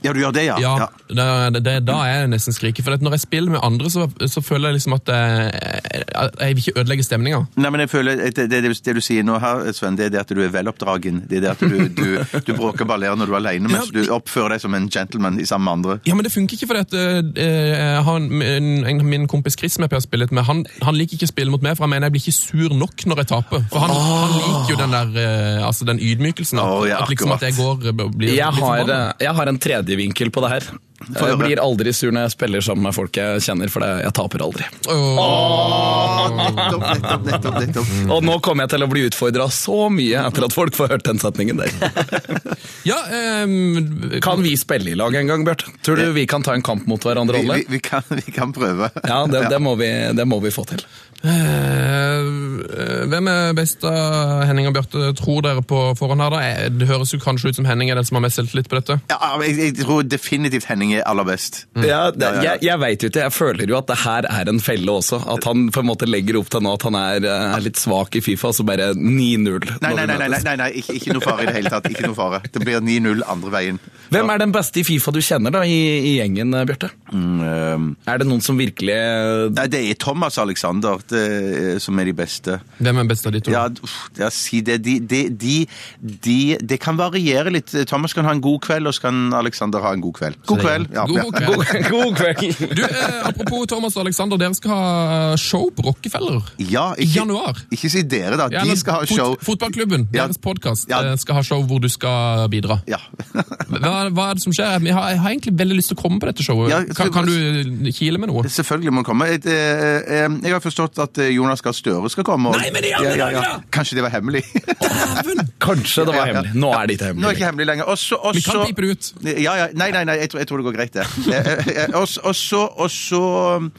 S4: Ja, du gjør det, ja?
S3: Ja, da- det, det, da er jeg nesten skriker. For at når jeg spiller med andre, så, så føler jeg liksom at jeg, jeg, jeg vil ikke ødelegge stemninga.
S4: Nei, men jeg føler at det, det, det, du sier nå her, Sven, det er det at du er veloppdragen. Det er det at du, du, du bråker bare når du er alene, mens
S3: Ja,
S4: du oppfører deg som en gentleman i sammen med andre.
S3: Ja, men det funker ikke, fordi at eh, han, en, en, min kompis Chris som jeg pleier å spille litt med, han, han liker ikke å spille mot meg, for han mener jeg blir ikke sur nok når jeg taper. For han, han liker jo den der, eh, altså den ydmykelsen, at,
S4: Å, ja,
S3: at liksom at jeg går eh, blir
S2: Jeg har, eh,
S3: forbannet.
S2: jeg har en tredje vinkel på det her. For jeg
S4: gjør det.
S2: blir aldri sur når jeg spiller sammen med folk jeg kjenner, for det- jeg taper aldri.
S4: Nettopp, nettopp, nettopp, nettopp.
S2: Og nå kommer jeg til å bli utfordra så mye etter at folk får hørt den setningen der.
S3: Ja, eh,
S2: Kan vi spille i lag en gang, Bjarte? Tror du vi kan ta en kamp mot hverandre
S4: Vi, vi,
S2: alle?
S4: vi, kan, vi kan prøve.
S2: Ja, det, det, må vi, det må vi få til.
S3: Eh, Hvem er best av Henning og Bjarte, tror dere på forhånd her? da? Eh, Det høres jo kanskje ut som Henning er den som har mest selvtillit på dette.
S4: Ja, men jeg, jeg tror definitivt Henning er aller best.
S2: Ja, det,
S4: Mm. Ja, ja, ja.
S2: jeg jeg veit jo ikke. Jeg føler jo at det her er en felle også. At han på en måte legger opp til nå at han er, eh, er litt svak i Fifa, så bare 9-0.
S4: Nei,
S2: når vi
S4: nei, nei, nei, nei,
S2: møtes.
S4: nei, nei ikke, ikke noe fare i det hele tatt. Ikke noe fare. Det blir 9-0 andre veien.
S2: Hvem er den beste i Fifa du kjenner da, i, i gjengen, eh, Bjarte? Er det noen som virkelig eh,
S4: mm, eh, Nei, det er Thomas og Alexander det, eh, som er de beste.
S3: Hvem er best av de to?
S4: Ja, uff, ja, si det. De, de, de, de, det kan variere litt. Thomas kan ha en god kveld, og så kan Alexander ha en god kveld. God kveld! Ja,
S3: God,
S4: ja.
S3: god kveld.
S2: God, god kveld!
S3: Du, eh, Apropos Thomas og Alexander, dere skal ha show på Rockefeller.
S4: Ja,
S3: I januar.
S4: Ikke si dere, da.
S3: Ja, eller
S4: De skal ha show.
S3: Fot, fotballklubben,
S4: Ja.
S3: deres podkast,
S4: Ja.
S3: skal ha show hvor du skal bidra.
S4: Ja.
S3: Hva, hva er det som skjer? Jeg har, jeg har egentlig veldig lyst til å komme på dette showet.
S4: Ja, jeg
S3: kan,
S4: tror-
S3: kan du kile med noe?
S4: Selvfølgelig må han komme. Et, eh, eh, Jeg har forstått at eh, Jonas Gahr Støre skal komme. og-
S2: Nei, men i alle dager!
S4: Kanskje det var hemmelig?
S2: Kanskje det var hemmelig. Nå er det ikke
S4: Nå er det
S2: hemmelig.
S4: ikke hemmelig lenger. Og så- og
S3: Vi kan
S4: så-
S3: pipe det ut.
S4: Ja, ja. Nei, nei, nei, jeg tror, jeg tror det går greit, det. Eh, eh, eh, Og så- og så og så- um,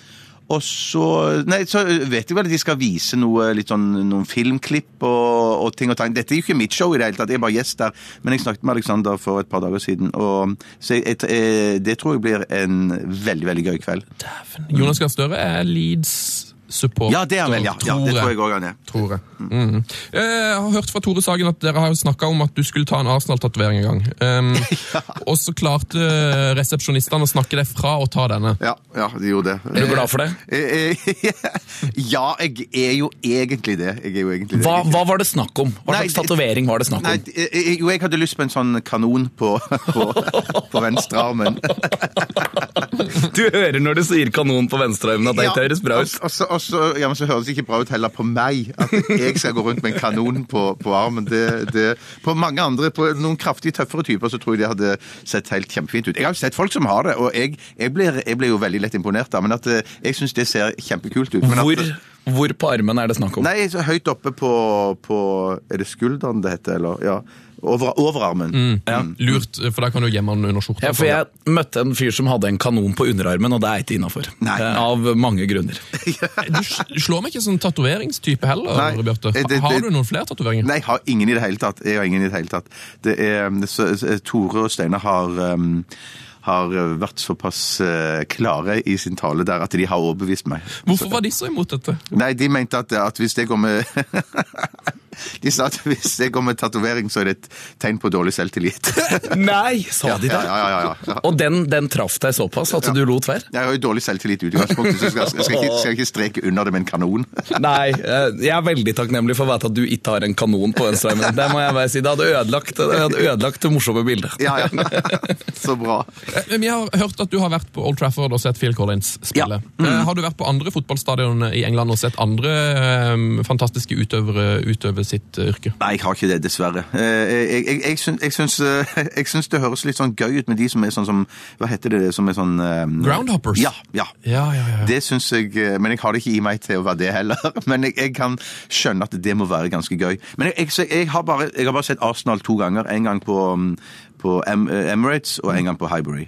S4: og så Nei, så vet jeg vel at de skal vise noe, litt sånn, noen filmklipp og, og ting og tang. Dette er jo ikke mitt show i det hele tatt, jeg er bare gjest der. Men jeg snakket med Alexander for et par dager siden, og så jeg, jeg, eh, det tror jeg blir en veldig, veldig gøy kveld.
S3: Jonas Gahr Støre er Leeds supporter,
S4: Ja, det er han vel, ja. ja det tror jeg òg han er.
S3: Tror jeg. Mm. Eh, Jeg har hørt fra Tore Sagen at dere har jo snakka om at du skulle ta en Arsenal-tatovering en gang. Um, Og så klarte resepsjonistene å snakke deg fra å ta denne.
S4: Ja, ja, de gjorde det.
S2: Er du glad for det?
S4: Eh, eh, ja, jeg er jo egentlig det. Jeg er jo egentlig det.
S2: Hva, hva var det snakk om? Hva
S4: Nei,
S2: slags
S4: det-
S2: tatovering var det snakk
S4: Nei,
S2: om?
S4: eh, eh, jo, jeg hadde lyst på en sånn kanon på, på, på venstre armen.
S2: Du hører når du sier kanon på venstrearmen at det ikke høres bra ut.
S4: Og så- og så- ja, men så høres det ikke bra ut heller på meg, at jeg skal gå rundt med en kanon på, på armen. Det, det, på mange andre, på noen kraftig tøffere typer, så tror jeg det hadde sett helt kjempefint ut. Jeg har jo sett folk som har det, og jeg, jeg, blir, jeg blir jo veldig lett imponert da, men at eh, jeg syns det ser kjempekult ut. Men
S2: Hvor,
S4: At,
S2: hvor på armen er det snakk om?
S4: nei, så høyt oppe på, på Er det skulderen det heter, eller? Ja. Over, overarmen.
S2: Mm.
S3: Lurt, for da kan du gjemme den under skjorta.
S2: Ja, for jeg møtte en fyr som hadde en kanon på underarmen, og det er ikke innafor. Eh,
S4: Nei.
S2: Av mange grunner.
S3: Du s- slår meg ikke som tatoveringstype heller,
S4: Nei,
S3: Bjarte.
S4: eh, det-
S3: Ha- Har
S4: det-
S3: du noen flere tatoveringer?
S4: Nei, jeg har ingen i det hele tatt. Jeg har ingen i det hele tatt. Det er, um, så, så, Tore og Steinar har um, har vært såpass eh, klare i sin tale der at de har overbevist meg.
S3: Hvorfor var de så imot dette?
S4: Nei, de mente at, at hvis jeg går med De sa at hvis jeg går med tatovering, så er det et tegn på dårlig selvtillit.
S2: Nei, sa de
S4: Ja,
S2: da?
S4: ja, ja, ja.
S2: Og den, den traff deg såpass at du lot være?
S4: Jeg har jo dårlig selvtillit i utgangspunktet, så jeg skal, jeg skal, ikke, skal ikke streke under det med en kanon.
S2: Nei, eh, jeg er veldig takknemlig for å vite at du ikke har en kanon på venstrearmen. Det må jeg bare si. Det hadde ødelagt det, hadde ødelagt det morsomme bildet.
S4: Ja, ja. Så bra.
S3: Eh, Vi har hørt at du har vært på Old Trafford og sett Phil Collins spille.
S4: Mm.
S3: Eh, Har du vært på andre fotballstadioner i England og sett andre eh, fantastiske ehm, utøvere utøve sitt eh, yrke.
S4: Nei, jeg har ikke det, dessverre. Eh, Jeg, jeg, jeg, syns, jeg, syns, eh, jeg syns det høres litt sånn gøy ut med de som er sånn som Hva heter det? som er sånn... eh,
S3: Groundhoppers?
S4: Ja, ja.
S3: Ja, ja, ja.
S4: Det syns jeg eh, Men jeg har det ikke i meg til å være det heller. Men jeg, jeg kan skjønne at det må være ganske gøy. Men jeg, jeg, så jeg, har, bare, jeg har bare sett Arsenal to ganger. En gang på, mm, på em, eh, Emirates og en gang på Highbury.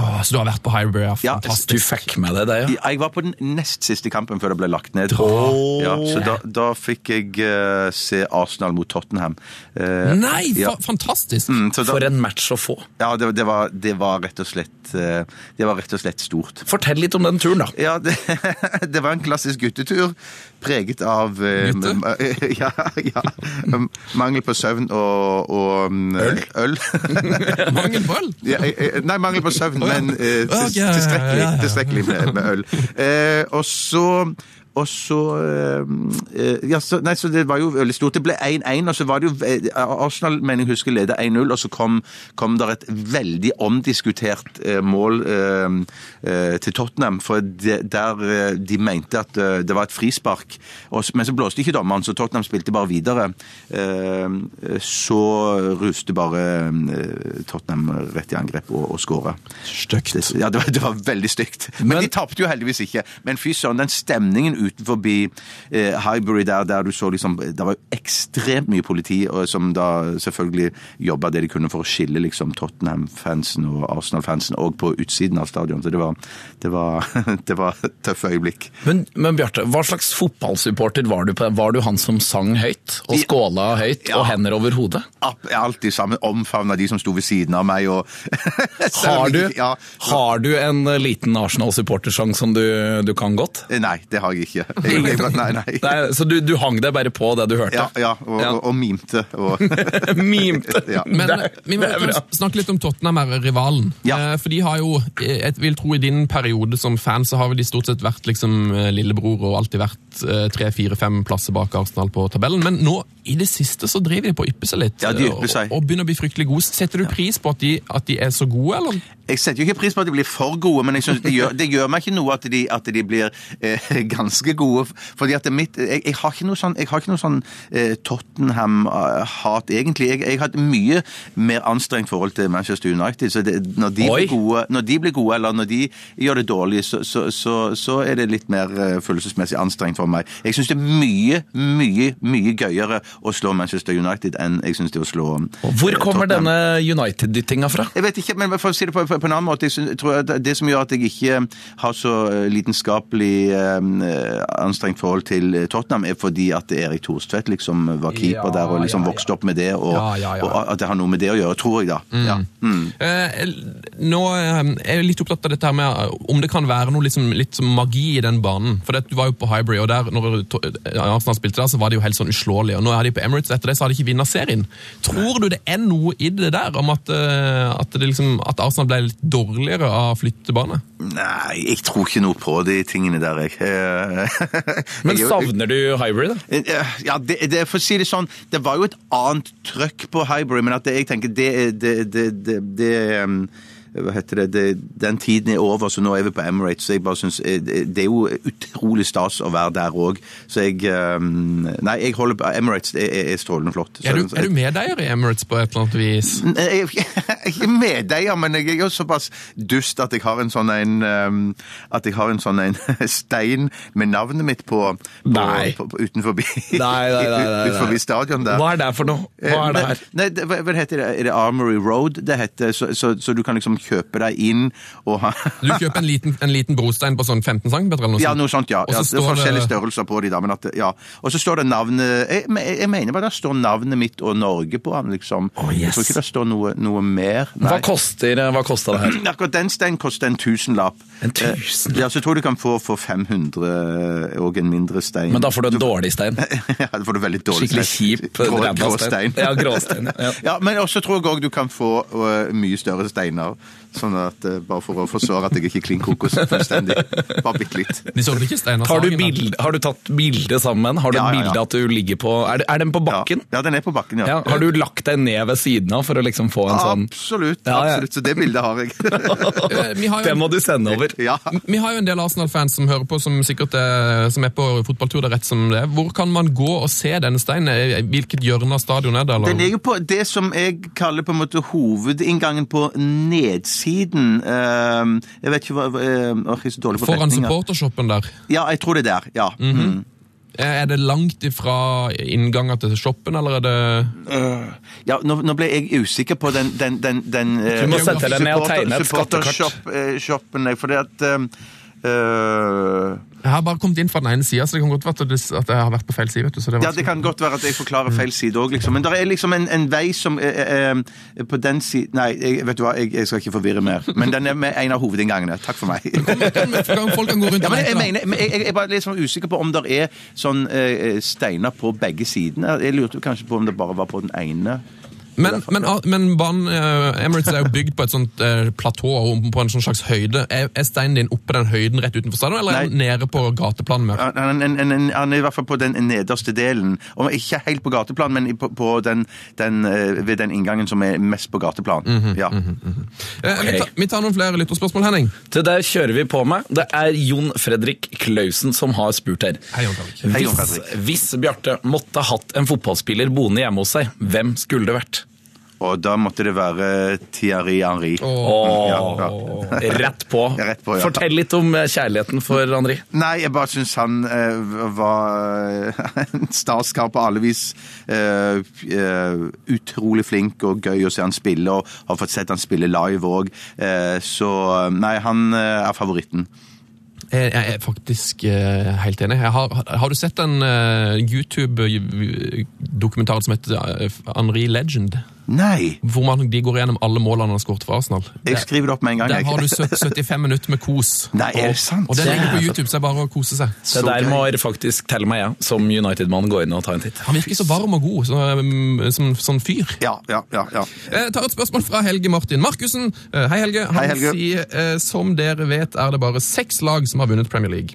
S3: Åh, så du har vært på Highbury? Ja,
S4: Ja,
S3: fantastisk.
S2: Du fikk med deg det, ja.
S4: Jeg var på den nest siste kampen før det ble lagt ned. Ja, så da, da fikk jeg eh, se Arsenal mot Tottenham. Eh,
S3: Nei, fa
S4: Ja.
S3: fantastisk!
S4: mm, så da-
S2: For en match å få.
S4: Ja, det, det, var, det, var rett og slett, eh, det var rett og slett stort.
S2: Fortell litt om den turen, da.
S4: Ja, det, det var en klassisk guttetur, preget av eh,
S3: Gutte?
S4: m- m- ja, ja, m- mangel på søvn og, og øl. øl.
S3: Mangel på øl!
S4: Ja, eh, eh, nei, mangel på søvn, men eh,
S3: Å, ja,
S4: til-
S3: ja, ja,
S4: tilstrekkelig,
S3: ja, ja.
S4: tilstrekkelig med, med øl. Eh, og så og så, eh, eh, ja, så Nei, så det var jo veldig stort. Det ble 1-1, og så var det jo eh, Arsenal mener jeg husker leda 1-0, og så kom, kom det et veldig omdiskutert eh, mål eh, eh, til Tottenham, for det, der eh, de mente at eh, det var et frispark. Og, s- men så blåste ikke dommeren, så Tottenham spilte bare videre. Eh, så ruste bare eh, Tottenham rett i angrep og, og skåra.
S3: Stygt.
S4: Det, ja, det var, det var veldig stygt. Men, de tapte jo heldigvis ikke. Men fy søren, den stemningen utenfor eh, Highbury der, der du så liksom Det var jo ekstremt mye politi og, som da selvfølgelig jobba det de kunne for å skille liksom Tottenham-fansen og Arsenal-fansen, og på utsiden av stadion. Så det var, det var, det var tøffe øyeblikk.
S2: Men, men Bjarte, hva slags fotballsupporter var du? på? Var du han som sang høyt, og skåla høyt,
S4: Ja.
S2: og hender over hodet?
S4: App- Alltid sammen omfavna de som sto ved siden av meg og Selv om
S2: Har du,
S4: ikke- Ja.
S2: har du en eh, liten Arsenal-supportersang som du, du kan godt?
S4: Nei, det har jeg ikke. Jeg, jeg, nei, nei.
S2: Nei, så du, du hang deg bare på det du hørte?
S4: Ja, ja, og,
S2: Ja.
S4: og, og mimte. Og
S2: Mimte!
S4: Ja.
S3: Men eh,
S2: det,
S3: vi må
S2: det er bra.
S3: snakke litt om Tottenham, er rivalen.
S4: Ja.
S3: Eh, For de har jo, eh, jeg vil tro i din periode som fan, så har vel de stort sett vært liksom eh, lillebror og alltid vært eh, tre, fire, fem plasser bak Arsenal på tabellen. Men nå, i det siste, så driver de på å yppe seg litt.
S4: Ja, de
S3: eh,
S4: ypper seg.
S3: Og, og begynner å bli fryktelig gode. Setter du pris på at de, at de er så gode, eller?
S4: Jeg setter jo ikke pris på at de blir for gode, men jeg synes det, gjør, det gjør meg ikke noe at de, at de blir eh, ganske gode. Fordi at det mitt, jeg, jeg har ikke noe sånn, jeg har ikke noe sånn eh, Tottenham-hat, egentlig. Jeg, jeg har et mye mer anstrengt forhold til Manchester United. Så det, når, de
S2: Oi.
S4: blir gode, når de blir gode, eller når de gjør det dårlig, så, så, så, så er det litt mer eh, følelsesmessig anstrengt for meg. Jeg syns det er mye, mye, mye gøyere å slå Manchester United enn jeg syns det er å slå eh,
S2: Hvor kommer
S4: Tottenham.
S2: denne United-dyttinga fra?
S4: Jeg vet ikke, men for å si det på, på, på en annen måte, jeg syns- tror jeg at det som gjør at jeg ikke har så eh, lidenskapelig eh, anstrengt forhold til eh, Tottenham, er fordi at Erik Thorstvedt liksom var keeper
S3: Ja,
S4: der og liksom
S3: ja, ja.
S4: vokste opp med det, og,
S3: Ja, ja, ja.
S4: og at det har noe med det å gjøre, tror jeg da. Ja. Mm.
S3: Eh, nå eh, er jeg litt opptatt av dette her med eh, om det kan være noe liksom, litt sånn magi i den banen. For det, du var jo på Hybrid, og der, når to- eh, Arsenal spilte der, så var de jo helt sånn uslåelige. Og nå er de på Emirates, etter det så har de ikke vunnet serien. Tror du det er noe i det der om at, eh, at, det liksom, at Arsenal ble litt dårligere av flyttebane?
S4: Nei, jeg tror ikke noe på de tingene der, jeg. Eh,
S2: Men
S4: jeg-
S2: savner du Hybrid? da?
S4: Eh, Ja, det, det, for å si det sånn, det var jo et annet trøkk på Hybrid, men at det, jeg tenker det, er- det, det, det, det em, hva heter det, det, Den tiden er over, så nå er vi på Emirates. så jeg bare synes, eh, Det det er jo utrolig stas å være der òg. Så jeg em, Nei, jeg holder på Emirates er, er- er strålende flott. Så-
S3: Er du, er du medeier i Emirates på et eller annet vis?
S4: Nei, Jeg, jeg er ikke medeier, men jeg er jo såpass dust at jeg har en sånn en ehm, At jeg har en sånn en stein med navnet mitt på, på,
S2: Nei.
S4: på, på utenforbi,
S2: Nei, nei, nei, nei, nei.
S4: utenforbi stadion der.
S2: Hva er det for noe? Hva er det
S4: Eh,
S2: her?
S4: Nei, det, hva, hva heter det? Er det Armory Road det heter? Så, så, så du kan liksom kjøpe deg inn og ha
S3: Du kjøper en liten, en liten brostein på sånn 15 cm? eller noe
S4: Ja,
S3: sånt?
S4: noe sånt, ja.
S3: Og så
S4: ja det er
S3: står eh, det-
S4: forskjellige størrelser på de da, men at det- Ja. Og så står det navnet Jeg, men jeg jeg mener bare det står navnet mitt og Norge på han, liksom. Jeg tror
S2: yes.
S4: ikke det står noe, noe mer. Nei.
S2: Hva koster hva kosta det her?
S4: Akkurat den steinen koster en tusenlapp.
S2: En tusenlapp?
S4: Eh, Ja, så jeg tror du kan få for 500 og en mindre stein.
S2: Men da får du en dårlig stein.
S4: ja, da får du veldig dårlig
S2: Skikkelig
S4: stein.
S2: kjip eh,
S4: Grå,
S2: ræva
S4: grå
S2: stein.
S4: stein.
S2: Ja, grå stein, ja.
S4: Ja, men også tror jeg også du kan få øh, eh, mye større steiner. Sånn at, eh, bare for å forsvare at jeg ikke er klin kokos fullstendig. Bare bitte litt.
S3: De så vel ikke Steinar
S2: Har du,
S3: Sagen, da?
S2: bild, har du tatt bilde sammen? Har du et
S4: Altså, Ja, ja, ja.
S2: bilde at du ligger på Er, det- er den på
S4: Ja.
S2: bakken?
S4: ja, den er på bakken,
S2: Ja.
S4: ja.
S2: Har du lagt deg ned ved siden av for å liksom få en sånn
S4: Absolutt.
S2: Ja, ja.
S4: absolutt. Så det bildet har jeg.
S3: Eh, Vi har jo
S2: Det må du sende over.
S4: ja.
S3: Vi har jo en del Arsenal-fans som hører på, som sikkert er, som er på fotballtur. det er rett som det er. Hvor kan man gå og se denne steinen? Eh, Hvilket hjørne av stadion er det?
S4: Den
S3: Eller?
S4: ligger på det som jeg kaller på en måte hovedinngangen på nedsiden. Ehm, jeg vet ikke hva ehm, åh, Jeg er så dårlig på
S3: Foran
S4: retninger.
S3: supportershoppen der.
S4: Ja, jeg tror det er der. ja. Mm.
S3: Eh, Er det langt ifra inngangen til shoppen, eller er det
S4: Mm. Ja, nå, nå ble jeg usikker på den, den, den, den eh,
S2: Du må sette deg ned og tegne et skattekart.
S4: Shoppen, fordi at ehm, øh,
S3: Jeg har bare kommet inn fra den ene sida, så det kan godt være at det- at jeg har vært på feil side. vet du. Så det er
S4: Ja, det
S3: vanskelig.
S4: kan godt være at jeg forklarer feil side òg, liksom. Men det er liksom en, en vei som eh, eh, eh, På den siden Nei, jeg, vet du hva, jeg, jeg skal ikke forvirre mer. Men den er med en av hovedinngangene. Takk for meg.
S3: Kan folk kan gå rundt
S4: Ja,
S3: og
S4: men
S3: vente,
S4: jeg,
S3: da.
S4: mener, men jeg, jeg er bare litt sånn usikker på om det er sånn eh, steiner på begge sidene. Jeg lurte jo kanskje på om det bare var på den ene.
S3: Men, men, men banen eh, Emirates er jo bygd på et sånt eh, platå og på en sånn slags høyde. Er, er steinen din oppe den høyden rett utenfor stadion, eller er den nede på gateplan? Mer?
S4: Han, han, han, han, han er i hvert fall på den nederste delen. Og ikke helt på gateplan, men i- på, på den, den, eh, ved den inngangen som er mest på gateplan. ja.
S3: Eh, vi, tar, vi tar noen flere lytterspørsmål, Henning.
S2: Til det kjører vi på med. Det er Jon Fredrik Klausen som har spurt her.
S3: Hei, Jon Fredrik.
S4: Hei, Jon
S2: Hvis,
S4: Fredrik.
S2: hvis Bjarte måtte hatt en fotballspiller boende hjemme hos seg, hvem skulle det vært?
S4: Og da måtte det være Thierry Henry.
S2: Åh,
S4: Ja,
S2: Rett på.
S4: Ja, rett på, ja.
S2: Fortell litt om eh, kjærligheten for Henri.
S4: Nei, jeg bare syns han eh, var eh, en starskar på alle vis. Eh, eh, utrolig flink og gøy å se han spille, og har fått sett han spille live òg. Eh, så nei, han eh, er favoritten.
S3: Jeg, jeg er faktisk eh, helt enig. Jeg har, har du sett den eh, YouTube-dokumentaren som heter eh, Henri Legend?
S4: Nei!
S3: Hvor man, de går gjennom alle målene han har skåret for Arsenal.
S4: Jeg skriver det opp med en gang.
S3: Der
S4: jeg.
S3: har du sø- 75 minutter med kos.
S4: Nei, er det sant?
S3: Og den ligger på
S4: Ja.
S3: YouTube, så det er bare å kose seg.
S2: Det
S4: Så
S2: der
S4: gøy.
S2: må jeg faktisk telle meg, jeg, som United-mann, gå inn og ta en titt.
S3: Han virker så varm og god så, mm, som sånn fyr.
S4: Ja, ja, ja, ja.
S3: Jeg Eh, tar et spørsmål fra Helge Martin Markussen. Eh, Hei, Helge. Han
S4: Hei, Helge.
S3: sier eh, som dere vet er det bare seks lag som har vunnet Premier League.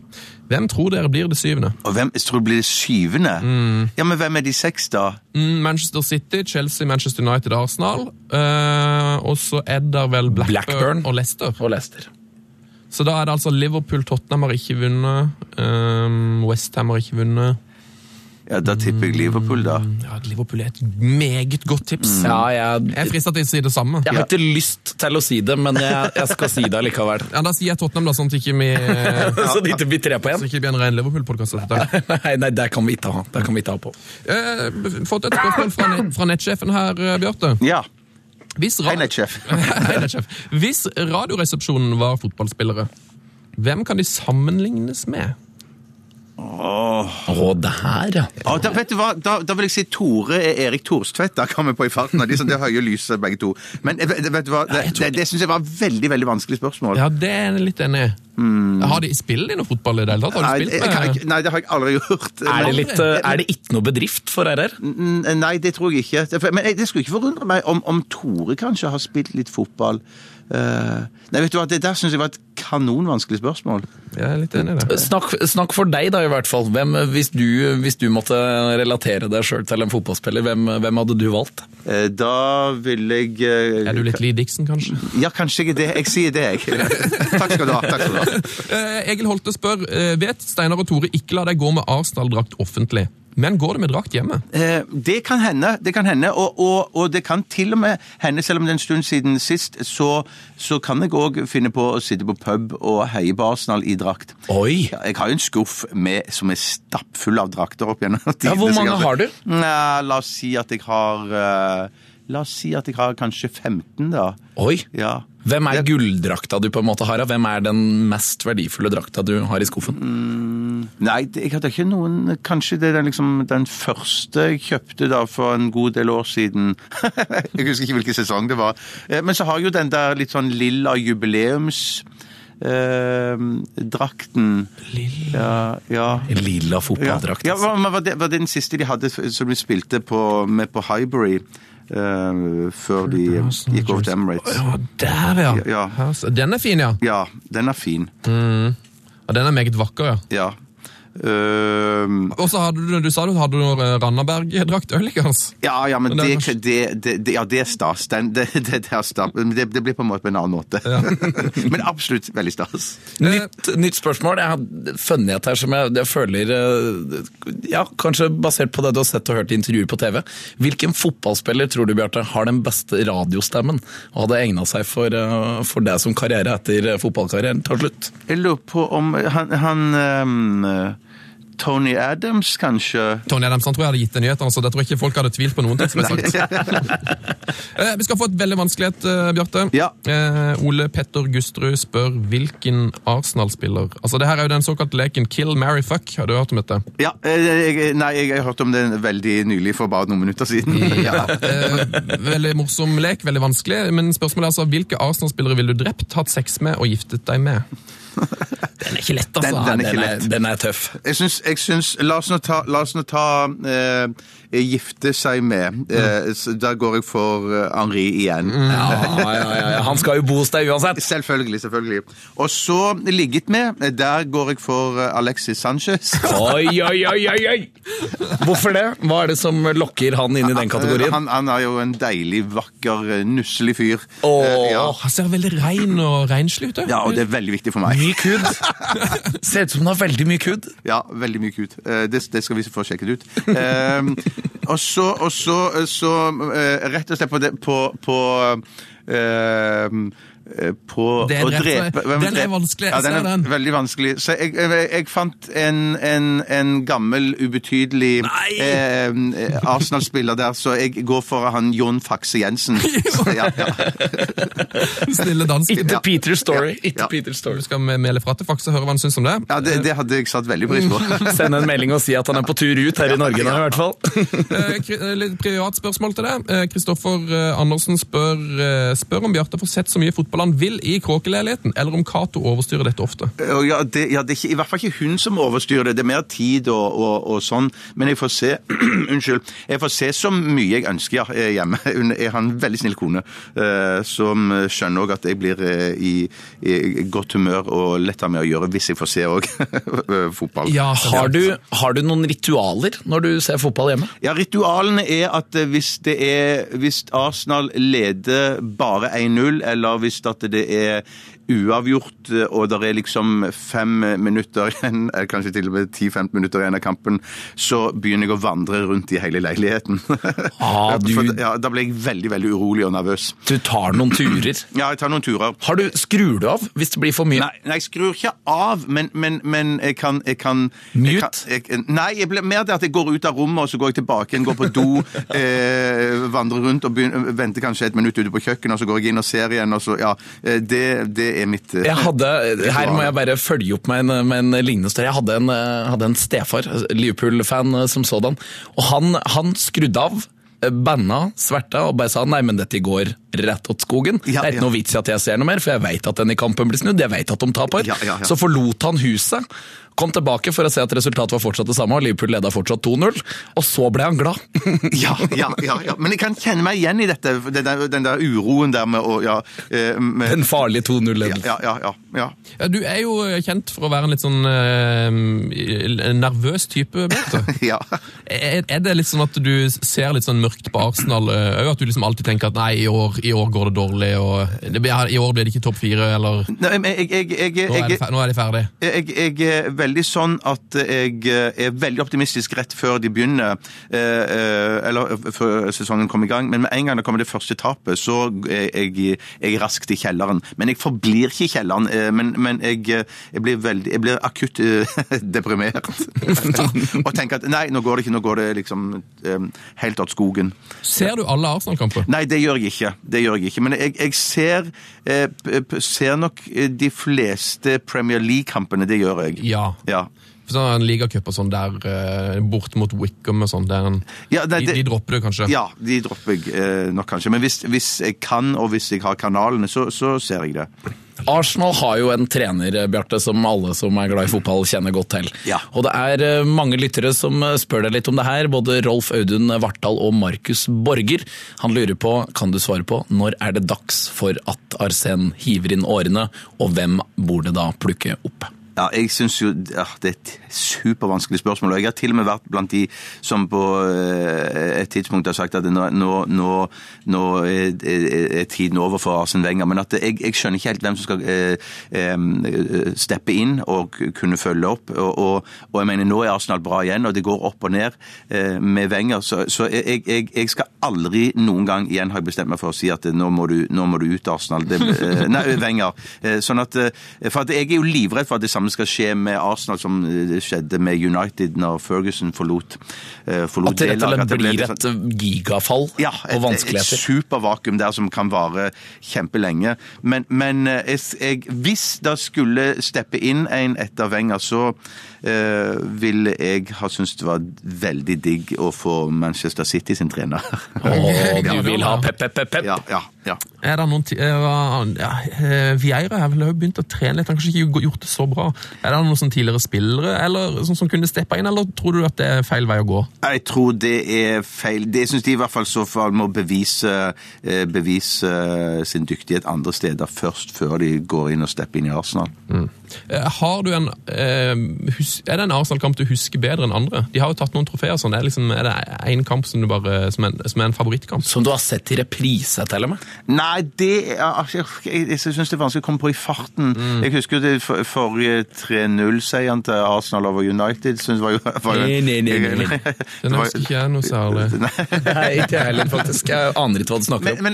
S3: Hvem tror dere blir det syvende?
S4: Og hvem, jeg tror det blir det syvende. Ja, men hvem er de seks, da?
S3: Mm, Manchester City, Chelsea, Manchester United, Arsenal. Eh, og så er det vel Blackburn,
S2: Blackburn.
S3: og Leicester.
S2: Og Leicester.
S3: Så da er det altså Liverpool, Tottenham har ikke vunnet. Um, Westham har ikke vunnet.
S4: Ja, Da tipper jeg Liverpool, da.
S3: Ja, Liverpool er et meget godt tips.
S2: Ja, jeg,
S3: Mm. Jeg frister til å si det samme.
S2: jeg har ikke lyst til å si det, men jeg, jeg skal si det likevel.
S3: Ja, Da sier jeg Tottenham, da, sånn at ikke vi eh,
S2: Så det ikke blir tre på
S3: så
S2: én?
S3: ikke det blir en ren Liverpool-podkast.
S2: Nei, nei, det kan vi ikke ha. Det kan vi ikke ha på.
S3: Eh, Fått et spørsmål fra, net fra nettsjefen her, eh, Bjarte.
S4: Ja.
S3: Hvis, ra
S4: Hei, nettsjef.
S3: Hei, nettsjef. Hvis Radioresepsjonen var fotballspillere, hvem kan de sammenlignes med?
S2: Å, det her, ja.
S4: Ja, da, vet du hva? Da, da vil jeg si Tore er Erik Thorstvedt. Da kom jeg på i farten. og De som det høye lyset, begge to. Men eh, vet vet du hva? Det, det, det syns jeg var et veldig veldig vanskelig spørsmål.
S3: Ja, det er jeg litt enig i. Har de spiller de noe fotball i det hele tatt? Har
S4: Mm. Nei,
S3: de
S4: jeg kan
S3: spilt
S4: ikke- nei, det har jeg aldri gjort.
S2: Er det,
S4: Men-
S2: litt, eh, er det ikke noe bedrift for RR?
S4: Mm, Nei, det tror jeg ikke. Det- Men jeg- det skulle ikke forundre meg om, om Tore kanskje har spilt litt fotball. Eh, nei, vet du hva? Det der syns jeg var et kanonvanskelig spørsmål.
S3: med Jeg er litt enig i det.
S2: Snakk, snakk for deg, da, i hvert fall. Hvem, hvis, du, hvis du måtte relatere deg sjøl til en fotballspiller, hvem, hvem hadde du valgt?
S4: Eh, da ville jeg eh,
S3: Er du litt Lee Dixon, kanskje?
S4: Ja, kanskje ikke det. Jeg sier det, jeg. Takk skal du ha. takk skal du ha.
S3: Eh, Egil Holte spør eh, Vet Steinar og Tore ikke la deg gå med Arsenal-drakt offentlig, men går det med drakt hjemme?
S4: Eh, Det kan hende, det kan hende, og, og, og det kan til og med hende, selv om det er en stund siden sist, så, så kan jeg òg finne på å sitte på pub og heie på Arsenal i drakt.
S2: Oi!
S4: Ja, jeg har jo en skuff med, som er stappfull av drakter opp gjennom tidene.
S2: hvor mange
S4: sikkert.
S2: har du?
S4: Nei, la oss si at jeg har eh, La oss si at jeg har kanskje 15, da.
S2: Oi!
S4: Ja.
S2: Hvem er
S4: Jeg-
S2: gulldrakta du på en måte har? da? Hvem er den mest verdifulle drakta du har i skuffen?
S4: Nei, det- jeg hadde ikke noen Kanskje det er den, liksom, den første jeg kjøpte da for en god del år siden. jeg husker ikke hvilken sesong det var. Eh, Men så har jeg jo den der litt sånn lilla jubileums... eh, drakten. Lilla Ja. ja.
S2: Lilla
S4: Ja,
S2: fotballdrakt.
S4: ja
S2: altså.
S4: hva- men var, det, var det den siste de hadde f- som de spilte på, med på Highbury? eh, før de
S3: sånn
S4: gikk over til Emirates.
S3: Ja, der, ja.
S4: Ja.
S3: Her s- Den er fin, ja.
S4: Ja, den er fin.
S3: ja. Den er meget vakker, ja.
S4: Ja. Ehm,
S3: Og så hadde du, du sa du hadde noe eh, Randaberg-drakt øl, ikke hans?
S4: ja, ja, men
S3: Men den
S4: det,
S3: er-
S4: det, det, det, ja, det er stas. Den, det, det, det, er stas. Men det, det blir på en måte på en annen måte. men absolutt veldig stas.
S2: Eh, Nytt, nytt spørsmål. Jeg har funnet et her som jeg, jeg føler eh, Ja, kanskje basert på det du har sett og hørt i intervjuer på TV. Hvilken fotballspiller tror du, Bjarte, har den beste radiostemmen og hadde egna seg for, eh, for deg som karriere etter eh, fotballkarrieren tar slutt?
S4: Jeg lurer på om han, han ehm, Tony Adams, kanskje?
S3: Tony Adamson tror jeg hadde gitt det nyhetene, så det tror jeg ikke folk hadde tvilt på noen ting som er sagt. Eh, Vi skal få et veldig vanskelig et, eh, Bjarte.
S4: Ja.
S3: Eh, Ole Petter Gustrud spør hvilken Arsenal-spiller Altså, det her er jo den såkalte leken Kill, marry, fuck. Har du hørt om dette?
S4: Ja, eh, jeg, nei, jeg har hørt om den veldig nylig, for bare noen minutter siden. Ja.
S3: Eh, veldig morsom lek, veldig vanskelig. Men spørsmålet er altså hvilke Arsenal-spillere ville du drept, hatt sex med og giftet deg med? Den er ikke lett, altså.
S4: Den- den er ikke
S2: den,
S4: lett.
S2: er, den er tøff.
S4: Jeg syns, jeg syns La oss nå ta, la oss nå ta eh, gifte seg med.
S3: Mm.
S4: Eh, så da går jeg for eh, Henri igjen.
S2: Ja, ja, ja, ja. Han skal jo bo hos deg uansett.
S4: Selvfølgelig, selvfølgelig. Og så ligget med. eh, Der går jeg for eh, Alexis Sanchez.
S2: Oi, oi, oi, oi, oi! Hvorfor det? Hva er det som lokker han inn i den kategorien?
S4: Han, han er jo en deilig, vakker, eh, nusselig fyr.
S2: Åh.
S4: Eh, ja.
S3: Han ser veldig rein og renslig ut.
S4: ja, og det er veldig viktig for meg.
S2: Mye kud. Ser ut som han har veldig mye kud.
S4: Ja, veldig mye kult. Eh, Det, det skal vi få sjekket ut. Eh, og så, og så, så eh, rett og slett på det, på, på eh, eh, på
S3: Det er
S4: å
S3: en rett-
S4: drepe hvem
S3: den er
S4: dreper?
S3: vanskelig, jeg
S4: Ja, den
S3: ser
S4: er
S3: den.
S4: veldig vanskelig. Så jeg, jeg, jeg fant en, en, en gammel, ubetydelig
S2: Nei!
S4: eh, Arsenal-spiller der, så jeg går for han Jon Faxe Jensen. Ja, ja.
S3: Snille dansken.
S2: Ikke
S4: Ja.
S2: Peter Story. Ikke
S4: Ja.
S2: Peter
S3: Du
S2: Story.
S3: skal med- melde fra til Faxe og høre hva han syns om det.
S4: ja det, det hadde jeg satt veldig pris på.
S2: Send en melding og si at han er på tur ut her i Norge nå, i hvert fall.
S3: Eh, kri- eh, Litt privat spørsmål til deg. Eh, Kristoffer eh, Andersen spør, eh, spør om Bjarte får sett så mye fotball han vil i kråkeleiligheten, eller om Cato overstyrer dette ofte.
S4: Eh, Og Ja, det, ja, det er ikke, I hvert fall ikke hun som overstyrer det. Det er mer tid og, og, og sånn. Men jeg får se Unnskyld. Jeg får se så mye jeg ønsker ja, eh, hjemme. Hun- Jeg har en veldig snill kone eh, som skjønner òg at jeg blir eh, i, i godt humør og lett har med å gjøre hvis jeg får se òg fotball.
S2: Har du, har du noen ritualer når du ser fotball hjemme?
S4: Ja, Ritualene er at eh, hvis det er Hvis Arsenal leder bare 1-0, eller hvis at det er uavgjort, eh, og det er liksom fem eh, minutter igjen, eller kanskje til og med 10-15 minutter igjen av kampen, så begynner jeg å vandre rundt i hele leiligheten.
S2: Ah, du-
S4: For, ja, da blir jeg veldig, veldig urolig og nervøs.
S2: Du tar noen turer.
S4: Ja, jeg tar noen turer.
S2: Har du, skrur du av hvis det blir for mye?
S4: Nei, nei, jeg skrur ikke av, men, men, men jeg kan, jeg kan
S2: Mute?
S4: Jeg kan, jeg, nei, jeg ble, mer det at jeg går ut av rommet, og så går jeg tilbake igjen, går på do, eh, vandrer rundt og begynner, venter kanskje et minutt ute på kjøkkenet, og så går jeg inn og ser igjen, og så Ja. eh, Det, det er mitt eh,
S2: Jeg hadde, her må jeg bare følge opp med en, med en lignende story. Jeg hadde en, eh, hadde en stefar, Liverpool-fan eh, som sådan, og han, han skrudde av, eh, banna, sverta og bare sa nei, men dette går rett åt skogen.
S4: Ja,
S2: det er ikke
S4: ja.
S2: noe vits i at jeg ser noe mer, for jeg vet at den i kampen blir snudd, jeg vet at de taper.
S4: Ja, ja, ja.
S2: Så forlot han huset, kom tilbake for å se at resultatet var fortsatt det samme, og Liverpool leda fortsatt 2-0, og så ble han glad.
S4: Ja, ja, ja, ja. Men jeg kan kjenne meg igjen i dette, den der, den der uroen der med å Ja. eh, med-
S2: En farlig
S4: ja,
S2: 2-0-ledelse.
S4: ja, ja, ja, ja.
S3: Ja, du er jo eh, kjent for å være en litt sånn eh, en nervøs type, Bjarte.
S4: ja.
S3: Er, er det litt sånn at du ser litt sånn mørkt på Arsenal òg? At du liksom alltid tenker at nei, i år, i år går det dårlig, og det, blir- i år blir det ikke topp fire, eller nå
S4: Nei, men jeg, jeg, jeg, jeg,
S3: er,
S4: jeg
S3: det, fer- nå er de ferdig.
S4: Jeg, jeg er veldig sånn at jeg eh, er veldig optimistisk rett før de begynner, eh, eh, eller før sesongen kommer i gang, men med en gang det kommer det første tapet, så er jeg, jeg er raskt i kjelleren. Men jeg forblir ikke i kjelleren, eh, men, men jeg, jeg, blir veldig, jeg blir akutt eh, deprimert. Og tenker at nei, nå går det ikke, nå går det liksom eh, helt åt skogen.
S3: Ser du alle Arsenal-kamper?
S4: Nei, det gjør jeg ikke. Det gjør jeg ikke. Men jeg, jeg ser, eh, p- p- ser nok eh, de fleste Premier League-kampene, det gjør jeg.
S3: Ja.
S4: Ja.
S3: sånn en ligacup og sånn der eh, bort mot Wickham og sånn. der en-
S4: Ja, nei,
S3: de,
S4: det-
S3: de dropper det kanskje.
S4: Ja, de dropper jeg eh, nok kanskje. Men hvis, hvis jeg kan, og hvis jeg har kanalene, så, så ser jeg det.
S2: Arsenal har jo en trener eh, Bjarte, som alle som er glad i fotball kjenner godt til.
S4: Ja.
S2: Og det er eh, mange lyttere som eh, spør deg litt om det her. Både Rolf Audun Vartdal og Markus Borger. Han lurer på, kan du svare på, når er det dags for at Arsen hiver inn årene, og hvem burde da plukke opp?
S4: Ja, jeg synes jo ja, Det er et supervanskelig spørsmål. og Jeg har til og med vært blant de som på eh, et tidspunkt har sagt at nå, nå, nå, nå er, er er tiden over for Arsen Wenger. Men at det- jeg, jeg skjønner ikke helt hvem som skal eh, em, eh, steppe inn og k- kunne følge opp. Og, og, og jeg mener, nå er Arsenal bra igjen, og det går opp og ned eh, med Wenger. Så, så jeg, jeg, jeg skal aldri noen gang igjen har jeg bestemt meg for å si at eh, nå må du, nå må du ut, Arsenal. Det, eh, nei, Wenger. Eh, Sånn at, eh, for at jeg er jo livredd for at det samme skal skje med Arsenal som eh, det skjedde med United når Ferguson forlot, eh, forlot
S2: At det rett og
S4: laget,
S2: slett
S4: at det sånn-
S2: blir
S4: ble litt
S2: et gigafall
S4: ja,
S2: og
S4: et, et
S2: vanskeligheter.
S4: supervakuum der som kan vare kjempelenge. Men, men eh, jeg, jeg, hvis det skulle steppe inn en etter Wenger, så eh, ville jeg ha syntes det var veldig digg å få Manchester City sin trener.
S2: Og du
S3: Ja, det
S2: vil
S3: var-
S2: ha pep, pep, pep, pep.
S4: ja, ja, ja.
S3: Er det noen ti- eh, hva- ja, eh, Vieira har vel også begynt å trene litt, han har kanskje ikke gjort det så bra. Er det noen sånn tidligere spillere eller sånn som kunne steppa inn, eller tror du at det er feil vei å gå?
S4: Jeg tror det er feil. Det syns de i hvert fall så fall må bevise, eh, bevise eh, sin dyktighet andre steder først, før de går inn og stepper inn i Arsenal.
S3: Eh, Har du en, eh, hus, er det en Arsenal-kamp du husker bedre enn andre? De har jo tatt noen trofeer. og Sånn. Er, liksom, er det én kamp som, du bare, som, er, som er en favorittkamp?
S2: Som du har sett i reprise, til og med.
S4: Nei, det er- altså, Jeg, jeg, jeg syns det er vanskelig å komme på i farten.
S2: Mm.
S4: Jeg husker jo det for- forrige 3-0-seieren til Arsenal over United. Synes det var jo, var jo
S2: Nei, nei, nei, nei, nei.
S4: Det
S3: Den
S4: var-
S3: husker ikke jeg noe særlig.
S2: Nei, ikke jeg heller, faktisk. Jeg aner ikke hva du snakker om.
S4: Men,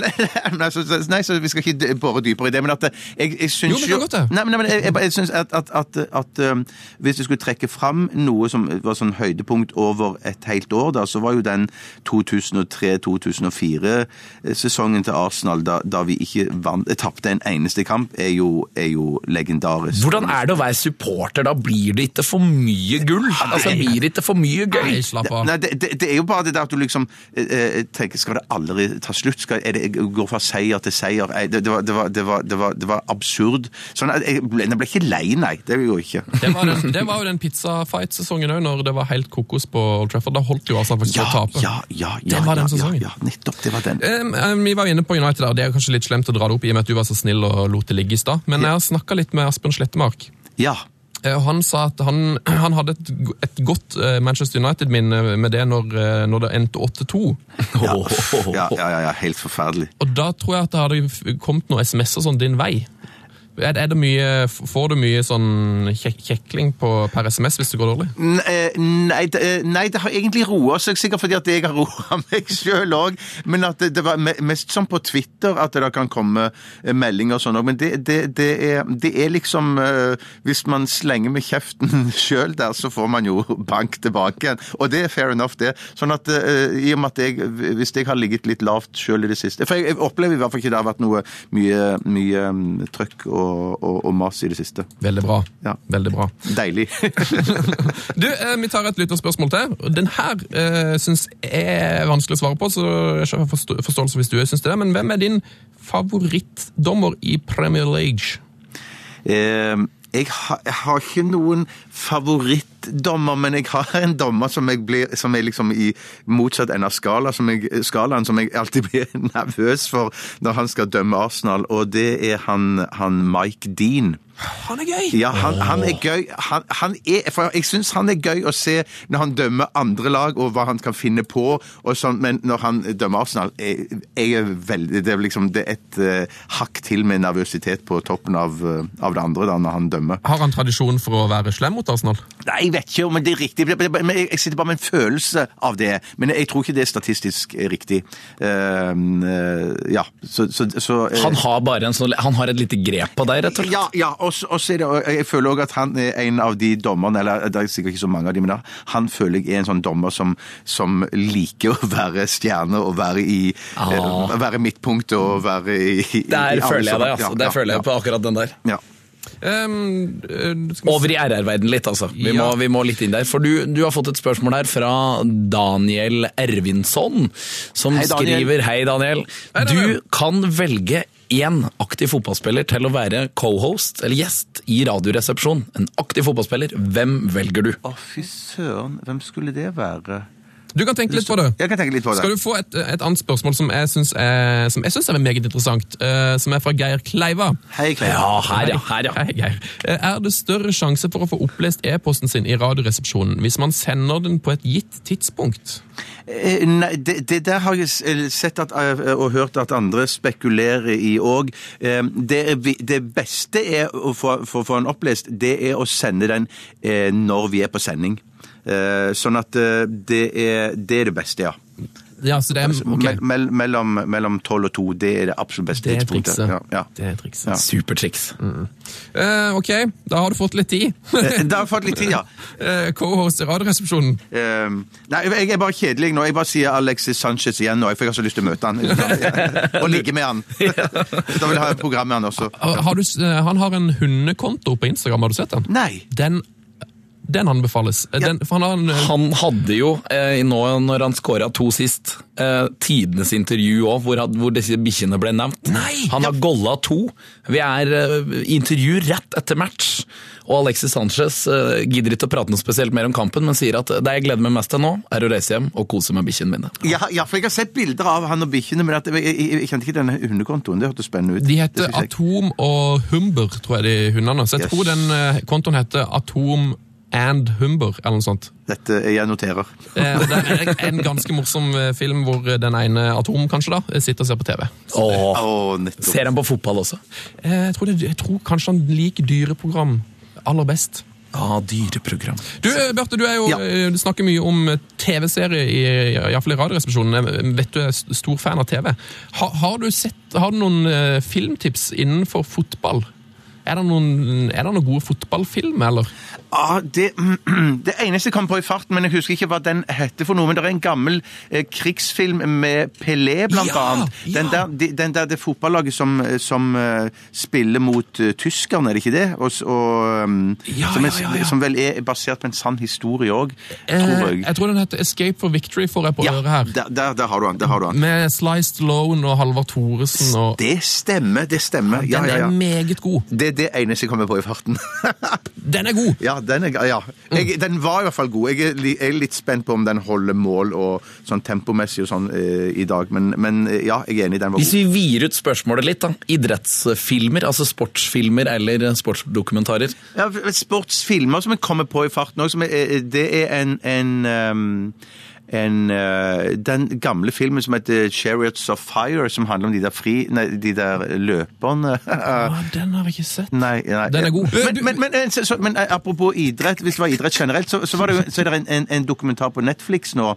S4: men, nei, så, så- nei, så vi skal ikke d- bore dypere i det, men at eh, jeg, jeg syns
S3: Jo, men det kan godt det.
S4: Nei, men- nei, men jeg, jeg, bare- jeg syns at, at, at, at um, hvis du skulle trekke fram noe som var sånn høydepunkt over et helt år, da, så var jo den 2003-2004-sesongen til Arsenal, da, da vi ikke vant, eh, tapte en eneste kamp, er jo, er jo legendarisk.
S2: Hvordan er det å være supporter? Da blir det ikke for mye gull. Altså, blir det ikke for mye gøy.
S3: Nei, slapp av.
S4: Nei, det, det, det er jo bare det der at du liksom eh, eh, tenker Skal det aldri ta slutt? Skal, er det, går fra seier til seier? Nei, Det, det, var, det, var, det, var, det, var, det var absurd. Sånn, at jeg, ble, jeg ble ikke lei, nei. Det gjorde jeg ikke.
S3: Det var, den, det var jo den pizzafight-sesongen òg, når det var helt kokos på Old Trafford. Da holdt jo Arsenal faktisk
S4: Ja,
S3: på å tape.
S4: ja, ja, ja,
S3: Det var den
S4: ja,
S3: sesongen.
S4: Ja, ja, nettopp. Det var den.
S3: Em, em, Vi var jo inne på United, der, og det er jo kanskje litt slemt å dra det opp i og med at du var så snill og lot det ligge i stad, men jeg har snakka litt med Asbjørn Slettemark.
S4: Ja.
S3: Eh, og Han sa at han, han hadde et, go- et godt eh, Manchester United-minne med det når, eh, når det endte 8-2.
S4: Ja.
S2: Åh.
S4: Ja, ja, ja, ja, helt forferdelig.
S3: Og da tror jeg at det hadde f- kommet noen SMS-er sånn din vei. Er, er det mye, f- får du mye sånn kjek kjekling på, per SMS hvis det går dårlig?
S4: N- eh, Nei, det- eh, nei, det har egentlig roa seg, sikkert fordi at jeg har roa meg sjøl òg. Men at det, det var me- mest sånn på Twitter at det da kan komme eh, meldinger og sånn òg. Men det, det, det, er, det er liksom eh, Hvis man slenger med kjeften sjøl der, så får man jo bank tilbake igjen. Og det er fair enough, det. Sånn at eh, i og med at jeg Hvis jeg har ligget litt lavt sjøl i det siste For jeg, jeg opplever i hvert fall ikke det har vært noe mye, mye mm, trøkk og, og, og mas i det siste.
S3: Veldig bra.
S4: Ja.
S3: Veldig bra.
S4: Deilig.
S3: Du, eh, Vi tar et lytterspørsmål til. Den her eh, syns jeg er vanskelig å svare på, så jeg har forstå- forståelse hvis du syns det. Men hvem er din favorittdommer i Premier League?
S4: Eh, jeg, har, jeg har ikke noen favorittdommer, men jeg har en dommer som, jeg blir, som er liksom i motsatt ende av skala, som jeg, skalaen, som jeg alltid blir nervøs for når han skal dømme Arsenal, og det er han, han Mike Dean.
S3: Han er gøy!
S4: Ja, han, han er gøy. Han, han er, for jeg syns han er gøy å se når han dømmer andre lag, og hva han kan finne på, og sånn, men når han dømmer Arsenal jeg, jeg er veldig, Det er liksom det er et eh, hakk til med nervøsitet på toppen av, eh, av det andre da, når han dømmer.
S3: Har han tradisjon for å være slem mot Arsenal?
S4: Nei, jeg vet ikke om det er riktig. men det- men Jeg jeg sitter bare med en følelse av det. Men jeg tror ikke det er statistisk riktig. Eh, eh, ja, så, så, så eh,
S2: Han har bare en sånn, han har et lite grep på deg, rett og slett.
S4: Ja, ja. Og så og så er det, og jeg føler også at han er en av de dommerne, eller det er sikkert ikke så mange av de, men han føler jeg er en sånn dommer som, som liker å være stjerne og være i
S2: Ah.
S4: eh, Være midtpunktet og være i, i
S2: Der
S4: i alle
S2: føler jeg altså.
S4: sånne-
S2: deg, altså. Der føler jeg på akkurat den der.
S4: Ja.
S3: Ehm, eh, skal vi
S2: Over i RR-verden litt, altså. Vi, må,
S3: Ja.
S2: vi må litt inn der. For du, du har fått et spørsmål her fra Daniel Ervinsson, som
S4: Hei, Daniel.
S2: skriver Hei, Daniel.
S3: Hei, Daniel.
S2: Du kan velge én aktiv fotballspiller til å være co-host eller gjest i Radioresepsjon. En aktiv fotballspiller, hvem velger du?
S4: Å, fy søren. Hvem skulle det være?
S3: se- Du kan tenke litt på det.
S4: Jeg kan tenke litt på det.
S3: Skal du få et, et annet spørsmål som jeg syns er, som jeg synes er meget interessant, eh, som er fra Geir Kleiva.
S4: Hei, Clay.
S2: Ja, her, ja. her ja.
S3: Hei, Geir. Eh, Er det større sjanse for å få opplest e-posten sin i Radioresepsjonen hvis man sender den på et gitt tidspunkt?
S4: Eh, Nei, det, det der har jeg s- eh, sett at, eh, og hørt at andre spekulerer i òg. Det, er vi- det beste er å få, for å få den opplest, det er å sende den eh, når vi er på sending. Eh, Sånn at eh, det er det, er det beste, ja.
S3: Ja, så det er, ok.
S4: Mell- mell- mellom, mellom 12 og 2, det er det absolutt beste
S3: Det er
S4: tidspunktet.
S3: trikset.
S4: Ja, ja.
S3: Det er trikset.
S4: Ja.
S2: Supertriks.
S3: Mm. Eh, ok, da har du fått litt tid.
S4: Eh, Da har jeg fått litt tid, ja.
S3: Eh, Co-host i Radioresepsjonen.
S4: Eh, Nei, jeg er bare kjedelig nå. Jeg bare sier Alexis Sanchez igjen nå, for jeg har så lyst til å møte han. Og ligge med han. Da vil jeg ha et program med han også.
S3: Har har du, s- eh, han har en hundekonto på Instagram, har du sett den?
S4: Nei.
S3: Den, den anbefales. Eh, Den, for han har en... eh,
S2: Han hadde jo, eh, nå når han skåra to sist, eh, tidenes intervju òg, hvor, han- hvor disse bikkjene ble nevnt.
S3: Nei!
S2: han har golla to. Vi er eh, i intervju rett etter match. Og Alexis Sanchez eh, gidder ikke å prate noe spesielt mer om kampen, men sier at det jeg gleder meg mest til nå, er å reise hjem og kose med bikkjene mine.
S4: Ja, ja, for jeg har sett bilder av han og bikkjene, men at jeg, jeg, jeg, jeg kjente ikke denne hundekontoen. Det hørtes spennende ut.
S3: De
S4: Det
S3: heter
S4: synes jeg.
S3: Atom og Humber, tror jeg de hundene. Så jeg
S4: Yes.
S3: tror den eh, kontoen heter Atom and Humber, eller noe sånt.
S4: Dette jeg noterer.
S3: Eh, og det er en ganske morsom eh, film hvor den ene Atom, kanskje, da, eh, sitter og ser på TV.
S4: Å,
S2: Åh,
S4: nettopp.
S2: ser han på fotball også?
S3: Eh, Jeg tror, det, jeg tror kanskje han liker dyreprogram aller best.
S2: Ja, dyreprogram.
S3: Du, eh, Bjarte, du, er jo,
S4: Ja.
S3: eh, du snakker mye om eh, TV-serier, i- i hvert fall i Radioresepsjonen. Jeg vet du er s- stor fan av TV. Ha, har, du sett, har du noen eh, filmtips innenfor fotball? Er det noen, er det noen gode fotballfilm, eller?
S4: Ah, det, det eneste jeg kom på i farten, men jeg husker ikke hva den heter for noe, men det er en gammel eh, krigsfilm med Pelé, blant
S3: Ja,
S4: annet. Den,
S3: ja.
S4: der, de- den der det fotballaget som, som eh, spiller mot eh, tyskerne, er det ikke det? Og, s- og, um,
S3: Ja,
S4: som, er,
S3: ja, ja, ja.
S4: som vel er basert på en sann historie òg, tror
S3: Eh,
S4: jeg.
S3: jeg tror den heter Escape for Victory, får jeg på
S4: Ja,
S3: øret her.
S4: der, der, der har du han. Der har du han.
S3: Med Sliced Loan og Halvard Thoresen og
S4: Det stemmer, det stemmer. Ja,
S3: Den
S4: ja,
S3: er
S4: ja.
S3: meget god.
S4: Det er det eneste jeg kommer på i farten.
S3: Den er god!
S4: ja, den, er, ja.
S3: Mm.
S4: Jeg, den var i hvert fall god. Jeg er, li- jeg er litt spent på om den holder mål og sånn tempomessig og sånn eh, i dag, men, men eh, ja, jeg er enig, den var
S2: Hvis
S4: god.
S2: vi vier ut spørsmålet litt, da. Idrettsfilmer, altså sportsfilmer eller sportsdokumentarer.
S4: Ja, sportsfilmer som jeg kommer på i farten òg, det er en, en ehm, en, eh, den gamle filmen som heter 'Chariots of Fire', som handler om de der, fri, nei, de der løperne.
S3: Ah, den har jeg ikke sett.
S4: Nei, nei.
S3: Den er god.
S4: Men, men, men, eh, så, så, men eh, apropos idrett, hvis det var idrett generelt, så, så, var det, jo- så er det en, en, en dokumentar på Netflix nå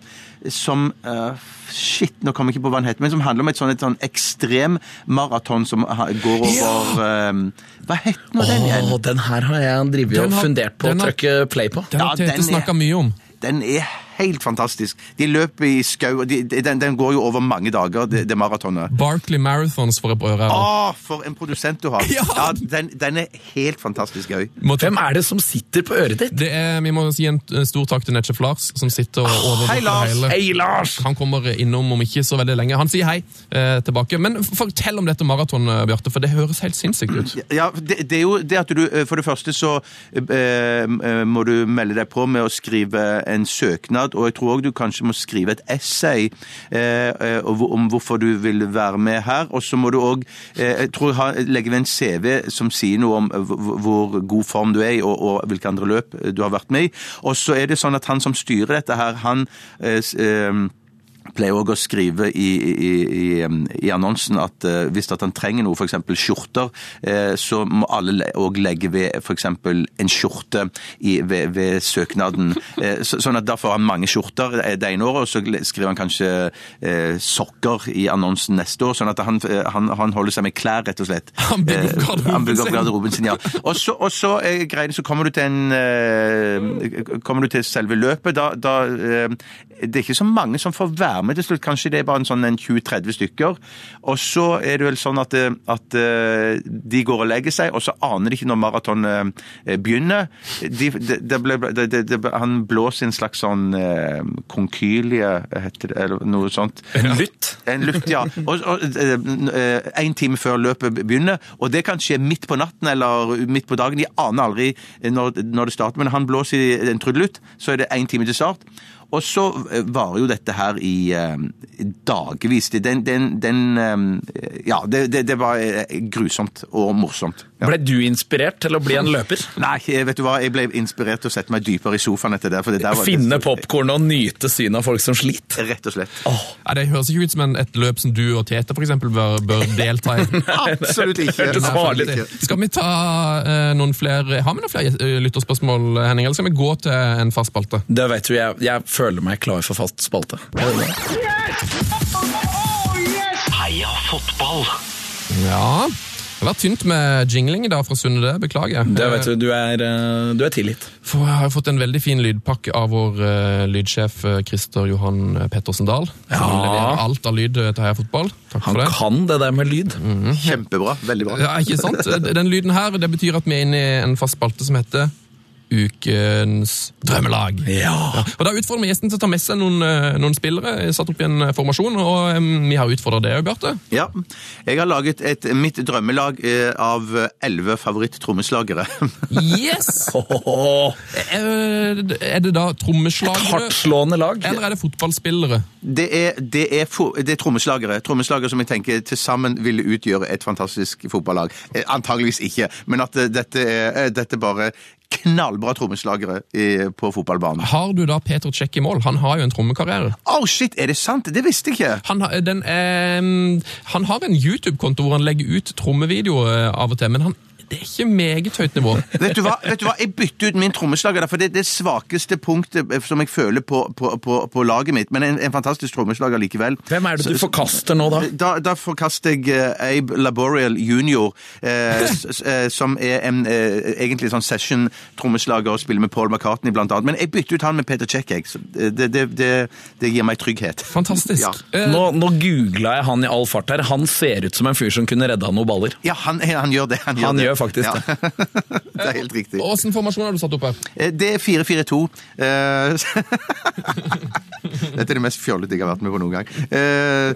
S4: som eh, Shit, nå kommer jeg ikke på hva den heter, men som handler om et sånn, et sånn ekstrem maraton som ha- går over eh, Hva het nå den igjen?
S2: Åh, den her har jeg drevet
S3: Den
S2: og
S3: har-
S2: fundert på
S3: den
S2: å
S3: har-
S2: trykke play på.
S3: Den
S4: Ja,
S3: har Tete
S4: den er-
S3: snakka mye om.
S4: Den er helt fantastisk. De løper i skau, og de, de- den, den går jo over mange dager, det, det maratonet.
S3: Barkley Marathons får jeg på øret her.
S4: Å, for en produsent du har!
S3: Ja.
S4: den, den er helt fantastisk gøy.
S3: Måtte-
S2: Hvem er det som sitter på øret ditt?
S3: Det er, vi må gi en eh, stor takk til Netchef Lars, som sitter og overvåker
S4: Ah, hei, Lars!
S3: hele.
S2: Hei, Lars!
S3: Han kommer innom om ikke så veldig lenge. Han sier hei eh, tilbake. Men f- fortell om dette maratonet, Bjarte, for det høres helt sinnssykt ut.
S4: Ja, det, det er jo det at du eh, For det første så eh, eh, må du melde deg på med å skrive en søknad, og jeg tror òg du kanskje må skrive et essay eh, eh, og hvor- om hvorfor du vil være med her. Og så må du òg eh, jeg tror jeg har- legge ved en CV som sier noe om eh, hvor hvor god form du er i, og, og hvilke andre løp eh, du har vært med i. Og så er det sånn at han som styrer dette her, han eh, s- eh, pleier også å skrive i, i, i, i annonsen at eh, hvis at han trenger noe, f.eks. skjorter, eh, så må alle le- og legge ved f.eks. en skjorte i, ved, ved søknaden. Eh, så, sånn at da får han mange skjorter eh, det ene året, og så le- skriver han kanskje eh, sokker i annonsen neste år. Sånn at han, eh, han, han holder seg med klær, rett og slett.
S3: Han bygger opp
S4: Eh,
S3: garderoben
S4: han bygger
S3: sin.
S4: opp garderoben sin. ja. Og så, og så eh, greier det, så kommer du til en eh, Kommer du til selve løpet, da, da eh, Det er ikke så mange som får være med til slutt. Kanskje det er bare en sånn en 20-30 stykker. Og så er det vel sånn at, eh, at eh, de går og legger seg, og så aner de ikke når maratonet eh, begynner. De, de, det ble, det- det- det- han blåser en slags sånn eh, konkylie, heter det, eller noe sånt.
S2: En lytt?
S4: En luft, ja. Og, og, eh, eh, en time før løpet begynner, og det kan skje midt på natten eller midt på dagen. De aner aldri når, når det starter, men han blåser i en trudelutt, så er det en time til start. Og så eh, varer jo dette her i eh, dagevis. Det- Den, den, den eh, Ja, det, det, det var eh, grusomt og morsomt. Ja.
S2: Ble du inspirert til å bli en løper?
S4: Nei, jeg- vet du hva, jeg ble inspirert til å sette meg dypere i sofaen etter det. For det der var
S2: Finne popkorn og nyte synet av folk som sliter?
S4: Rett og slett.
S3: Ja, det høres ikke ut som en, et løp som du og Tete for eksempel, bør, bør delta i.
S4: Absolutt ikke.
S2: Det hørtes
S4: Nei,
S2: farlig
S4: absolutt
S2: ut.
S4: ikke.
S3: Skal vi ta eh, noen flere Har vi noen flere eh, lytterspørsmål, Henning? Eller skal vi gå til en fast spalte?
S2: Det vet du, jeg, jeg føler meg klar for fast spalte.
S5: Heia fotball!
S3: Ja. Det har vært tynt med jingling i dag fra Sunne, det. Beklager.
S2: Det vet du, du er, eh, du er tilgitt.
S3: For jeg har jo fått en veldig fin lydpakke av vår eh, lydsjef eh, Christer Johan Pettersen Dahl. Som
S2: Ja.
S3: leverer alt av lyd eh, til Heia Fotball. Takk
S2: Han
S3: for det.
S2: kan det der med lyd.
S4: Kjempebra. Veldig bra.
S3: Ja, ikke sant? Eh, Den lyden her, det betyr at vi er inne i en fast spalte som heter Ukens drømmelag.
S2: Ja.
S3: Og Da utfordrer vi gjesten til å ta med seg noen, eh, noen spillere. Jeg Satt opp i en eh, formasjon, og em, vi har utfordret det òg, Bjarte.
S4: Ja. Jeg har laget et, mitt drømmelag eh, av elleve favoritt-trommeslagere.
S3: Yes!
S2: Åhåhå.
S3: Er Eh, er det da trommeslagere,
S2: Hardtslående lag.
S3: eller er det fotballspillere?
S4: Det er, det er, fo- det er trommeslagere. Trommeslagere som jeg tenker til sammen ville utgjøre et fantastisk fotballag. Eh, Antageligvis ikke, men at eh, dette er, eh, dette er bare knallbra trommeslagere eh, på fotballbanen.
S3: Har du da Peter Tsjekk i mål? Han har jo en trommekarriere.
S4: Å, shit! Er det sant? Det visste jeg ikke!
S3: Han, har- den, em, han har en YouTube-konto hvor han legger ut trommevideoer eh, av og til, men han, det er ikke meget høyt nivå.
S4: Vet du hva? Vet du hva? Jeg bytter ut min trommeslager, der, for det er det svakeste punktet eh, som jeg føler på, på, på, på laget mitt. Men en, en fantastisk trommeslager likevel.
S2: Hvem er det du forkaster nå, da?
S4: Da, da forkaster jeg eh, Abe Laboriel jr., eh, s- s- eh, som er en eh, egentlig sånn session-trommeslager og spiller med Paul McCartney, blant annet. Men jeg bytter ut han med Peter Cech, jeg. Så Det, det, det, det gir meg trygghet.
S3: Fantastisk.
S4: Ja.
S3: Eh,
S2: Nå, nå googla jeg han i all fart her. Han ser ut som en fyr som kunne redda noen baller.
S4: Ja, han, han gjør det. Han gjør,
S2: Han
S4: det.
S2: gjør faktisk
S4: Ja.
S2: det.
S4: det er helt riktig.
S3: Åssen formasjon har du satt opp her?
S4: Eh, Det er 4-4-2. Eh, Dette er det mest fjollete jeg har vært med på noen gang. Eh,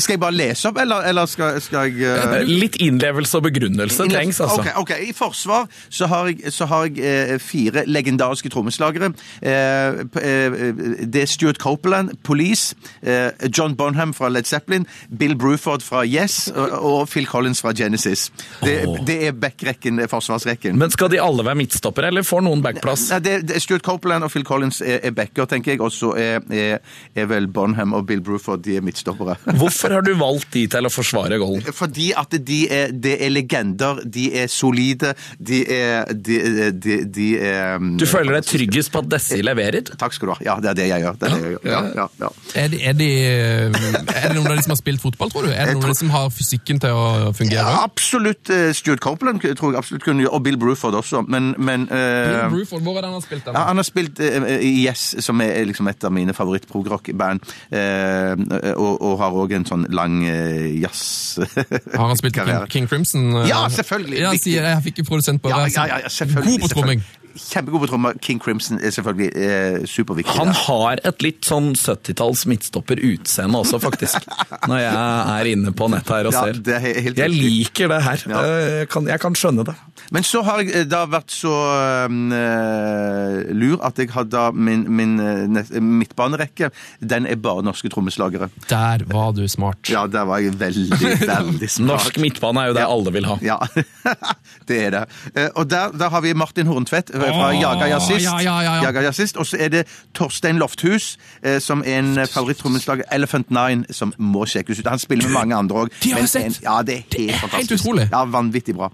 S4: Skal jeg bare lese opp, eller, eller skal, skal jeg eh,
S2: Litt innlevelse og begrunnelse trengs, altså.
S4: Ok, ok. I forsvar så har jeg, så har jeg eh, fire legendariske trommeslagere. Eh, p- eh, det er Stuart Copeland, Police, eh, John Bonham fra Led Zeppelin, Bill Bruford fra Yes og, og Phil Collins fra Genesis. Det,
S2: Åh.
S4: det er backrekken, eh, forsvarsrekken.
S2: Men skal de alle være midtstoppere, eller får noen backplass?
S4: Nei, det, det, Stuart Copeland og Phil Collins er, er backer, tenker jeg. Og så er, er, er vel Bonham og Bill Bruford de er midtstoppere.
S2: Hvorfor har du valgt de til å forsvare goalen?
S4: Fordi at de er, det er legender, de er solide, de er De, de, de er
S2: Du føler deg tryggest på at Dessi leverer?
S4: Takk skal du ha. Ja, det er det jeg gjør. Det er det jeg gjør. Ja, ja, ja.
S3: Er det, er, det, eh, er det noen av de som har spilt fotball, tror du? Er det
S4: Jeg
S3: noen av de som har fysikken til å
S4: Ja,
S3: fungere?
S4: absolutt. eh, Stuart Copeland tror jeg absolutt kunne gjøre, og Bill Bruford også, men, men eh,
S3: Bruford, hvor er det han har spilt den?
S4: ja, Han har spilt eh, i Yes, som er liksom et av mine favoritt-progrock-band, eh, og, og har òg en sånn lang eh, jazz-karriere.
S3: Har han spilt i King, King Crimson? eh?
S4: Ja, selvfølgelig.
S3: Ja, han
S4: Viktig.
S3: sier, jeg fikk jo produsent på
S4: Ja,
S3: det. sånn
S4: ja, ja, ja, selvfølgelig.
S3: God på tromming.
S4: selvfølgelig. Kjempegod på trommer. King Crimson er selvfølgelig eh, superviktig.
S2: Han
S4: der.
S2: har et litt sånn 70-talls midtstopper-utseende også, faktisk. Når jeg er inne på nettet her og
S4: Ja,
S2: ser.
S4: det er he- helt
S2: Jeg
S4: riktig.
S2: liker det her.
S4: Ja.
S2: Eh, Jeg kan, jeg kan skjønne det.
S4: Men så har jeg eh, da vært så ehm, eh, lur at jeg har da min, min eh, nest- midtbanerekke. Den er bare norske trommeslagere.
S3: Der var du smart.
S4: Ja, der var jeg veldig, veldig
S2: Norsk
S4: smart.
S2: midtbane er jo det
S4: Ja.
S2: alle vil ha.
S4: Ja, det er det. Eh, Og der, der har vi Martin Horntvedt eh, fra
S3: Åh,
S4: Jaga Jazzist.
S3: ja, ja, ja, ja.
S4: Jaga Jazzist. Og så er det Torstein Lofthus, eh, som er en eh, favoritttrommeslager. Elephant Nine, som må sjekkes ut. Han spiller med mange andre òg.
S3: de har jeg sett.
S4: Ja, det er helt
S3: er helt
S4: fantastisk.
S3: utrolig.
S4: Ja, Vanvittig bra.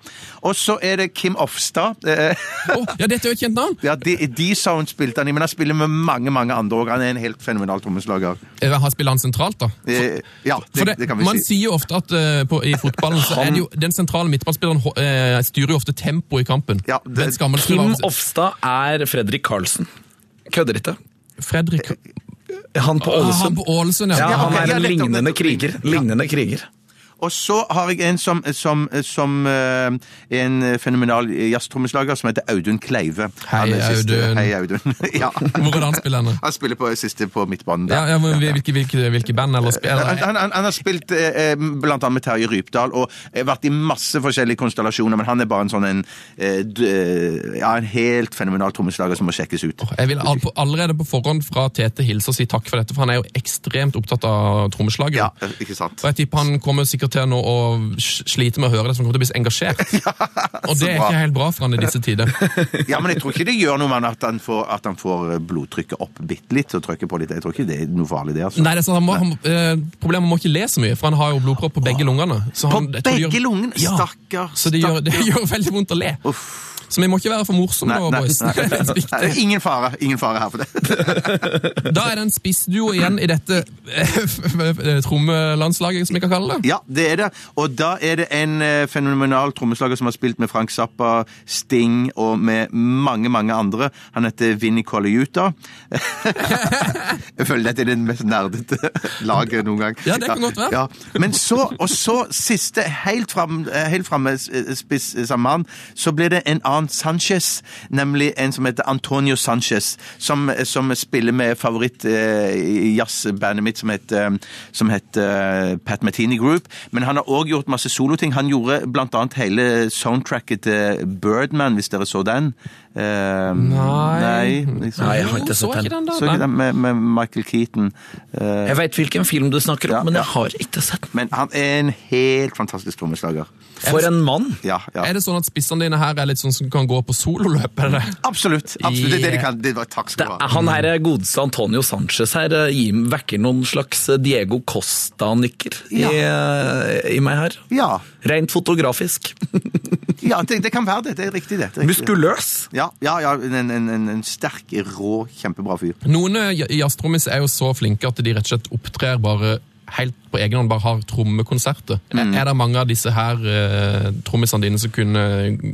S4: Og så er det Kim Ofstad. eh,
S3: Å, ja, dette er jo et kjent navn.
S4: Ja, D-Sound spilte han i, men han spiller med mange mange andre òg. Han er en helt fenomenal trommeslager.
S3: Eh, Han spiller han sentralt, da?
S4: Eh, Ja,
S3: For
S4: det, det kan vi
S3: man
S4: si.
S3: sier jo ofte at eh, på, i fotballen så er det jo den sentrale midtballspilleren ho- eh, styrer jo ofte tempoet i kampen.
S4: Ja, det-
S3: Mens gammel-
S2: Kim Ofstad er Fredrik Karlsen. Kødder ikke.
S3: Fredrik
S2: Han på
S3: Ah, han
S2: Ålesund.
S3: på Ålesund, ja.
S2: Ja,
S4: Eh, Ja,
S2: han
S4: ok,
S2: er
S4: ja,
S2: en
S4: nettopp,
S2: lignende
S4: nettopp.
S2: kriger. Lignende kriger.
S4: Og så har jeg en som, som, som eh, en fenomenal jazztrommeslager som heter Audun Kleive. Han er siste-
S3: Audun.
S4: Hei, Audun. ja.
S3: Hvor er det han spiller henne?
S4: Han spiller på siste på midtbanen. der.
S3: Ja, ja, men hvilke, hvilke, hvilke band eller
S4: Han,
S3: spiller?
S4: han, han, han har spilt eh, eh, blant annet med Terje Rypdal og eh, vært i masse forskjellige konstellasjoner, men han er bare en sånn en, eh, d- eh, ja, en helt fenomenal trommeslager som må sjekkes ut.
S3: Jeg vil all- på- allerede på forhånd fra Tete hilse og si takk for dette, for han er jo ekstremt opptatt av trommeslaget.
S4: Ja, eh, ikke sant?
S3: Og jeg tipper han kommer sikkert til nå å sl- slite med å høre det, så han kommer til å bli så engasjert. og det er
S4: bra.
S3: ikke helt bra for han i disse tider.
S4: Ja, men jeg tror ikke det gjør noe med at han får, at han får eh, blodtrykket opp bitte litt og trykker på litt. Jeg tror ikke det er noe farlig, det. altså.
S3: Nei, det er sånn, han må, han, eh, Problemet er han må ikke le så mye, for han har jo blodpropp på begge lungene. Så
S4: På
S3: han, jeg tror det
S4: begge lungene?
S3: Ja,
S4: Stakkar,
S3: Så det gjør, det gjør veldig vondt å le. Så vi må ikke være for morsomme, da, boys. Det er litt viktig.
S4: Nei, Ingen fare. Ingen fare her for det.
S3: Da er det en spissduo igjen i dette eh, trommelandslaget, som vi kan kalle det.
S4: Ja, det er det. Og da er det en eh, fenomenal trommeslager som har spilt med Frank Zappa, Sting og med mange, mange andre. Han heter Vinnie Colliuta. Jeg føler dette er det mest nerdete laget noen gang.
S3: Ja, det kan godt være.
S4: Ja. Men så, og så siste, helt fram- eh, helt framme eh, spiss eh, samme mann, så blir det en annen Sanchez, nemlig en som heter Antonio Sanchez, som, eh, som spiller med favoritt eh, i jazzbandet mitt som heter, eh, som heter eh, Pat Martini Group, men han har også gjort masse soloting. Han gjorde blant annet hele soundtracket til Birdman, hvis dere så den. Eh,
S3: Nei.
S4: Nei, liksom.
S2: Nei, jeg har ikke
S3: Jo,
S2: sett
S3: så
S2: den.
S3: da.
S4: Så ikke
S3: Nei.
S4: den med, med Michael Keaton. Eh,
S2: Jeg veit hvilken film du snakker om,
S4: Ja,
S2: men
S4: ja.
S2: jeg har ikke sett den.
S4: men han er en helt fantastisk trommeslager.
S2: For en mann!
S4: Ja, ja.
S3: Er det sånn at spissene dine her er litt sånn som kan gå på sololøp? Er det? det?
S4: Absolutt. absolutt. Det er det de kan. Det var, takk
S2: Det
S4: skal du
S2: er,
S4: ha.
S2: han her er godeste Antonio Sanchez her eh, gir- vekker noen slags eh, Diego Costa-nikker i, eh, i meg her.
S4: Ja,
S2: Rent fotografisk.
S4: ja det, det kan være det. Det er riktig, det. det er riktig.
S2: Muskuløs!
S4: Ja, ja, ja en, en, en, en sterk, rå, kjempebra fyr.
S3: Noen eh, ja- jazztrommis er jo så flinke at de rett og slett opptrer bare helt på egen hånd, bare har trommekonserter.
S4: Mm.
S3: Er- Er det mange av disse her eh, trommisene dine som kunne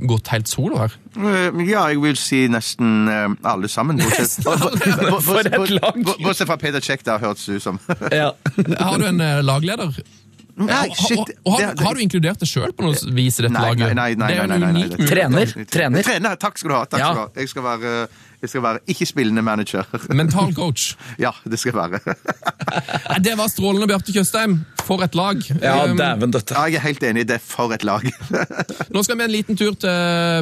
S3: gått helt solo her?
S4: Eh, Ja, jeg vil si nesten eh, alle sammen. Bortsett
S2: For et lag.
S4: bort- bortsett fra Peder Czech, der hørtes det ut som.
S2: Ja.
S3: Har du en eh, lagleder?
S4: Nei,
S3: Og-
S4: shit.
S3: og, og, har,
S4: det- Eh,
S3: har du inkludert deg sjøl på noe vis i dette
S4: Nei,
S3: laget?
S4: nei, nei, nei,
S3: det er jo
S4: nei,
S3: en
S4: nei,
S3: unik
S4: nei, nei.
S3: mulighet.
S2: Trener. Trener.
S4: Trener, takk skal du ha. Takk
S2: Ja.
S4: skal du ha. Jeg skal være, eh, jeg skal være ikke-spillende manager.
S3: Mental coach.
S4: Ja, det skal jeg være.
S3: Nei, Det var strålende, Bjarte Tjøstheim. For et lag.
S2: Ja,
S3: Um,
S2: dæven
S4: Ja,
S2: døtte.
S4: jeg er helt enig. Det er for et lag.
S3: Nå skal vi en liten tur til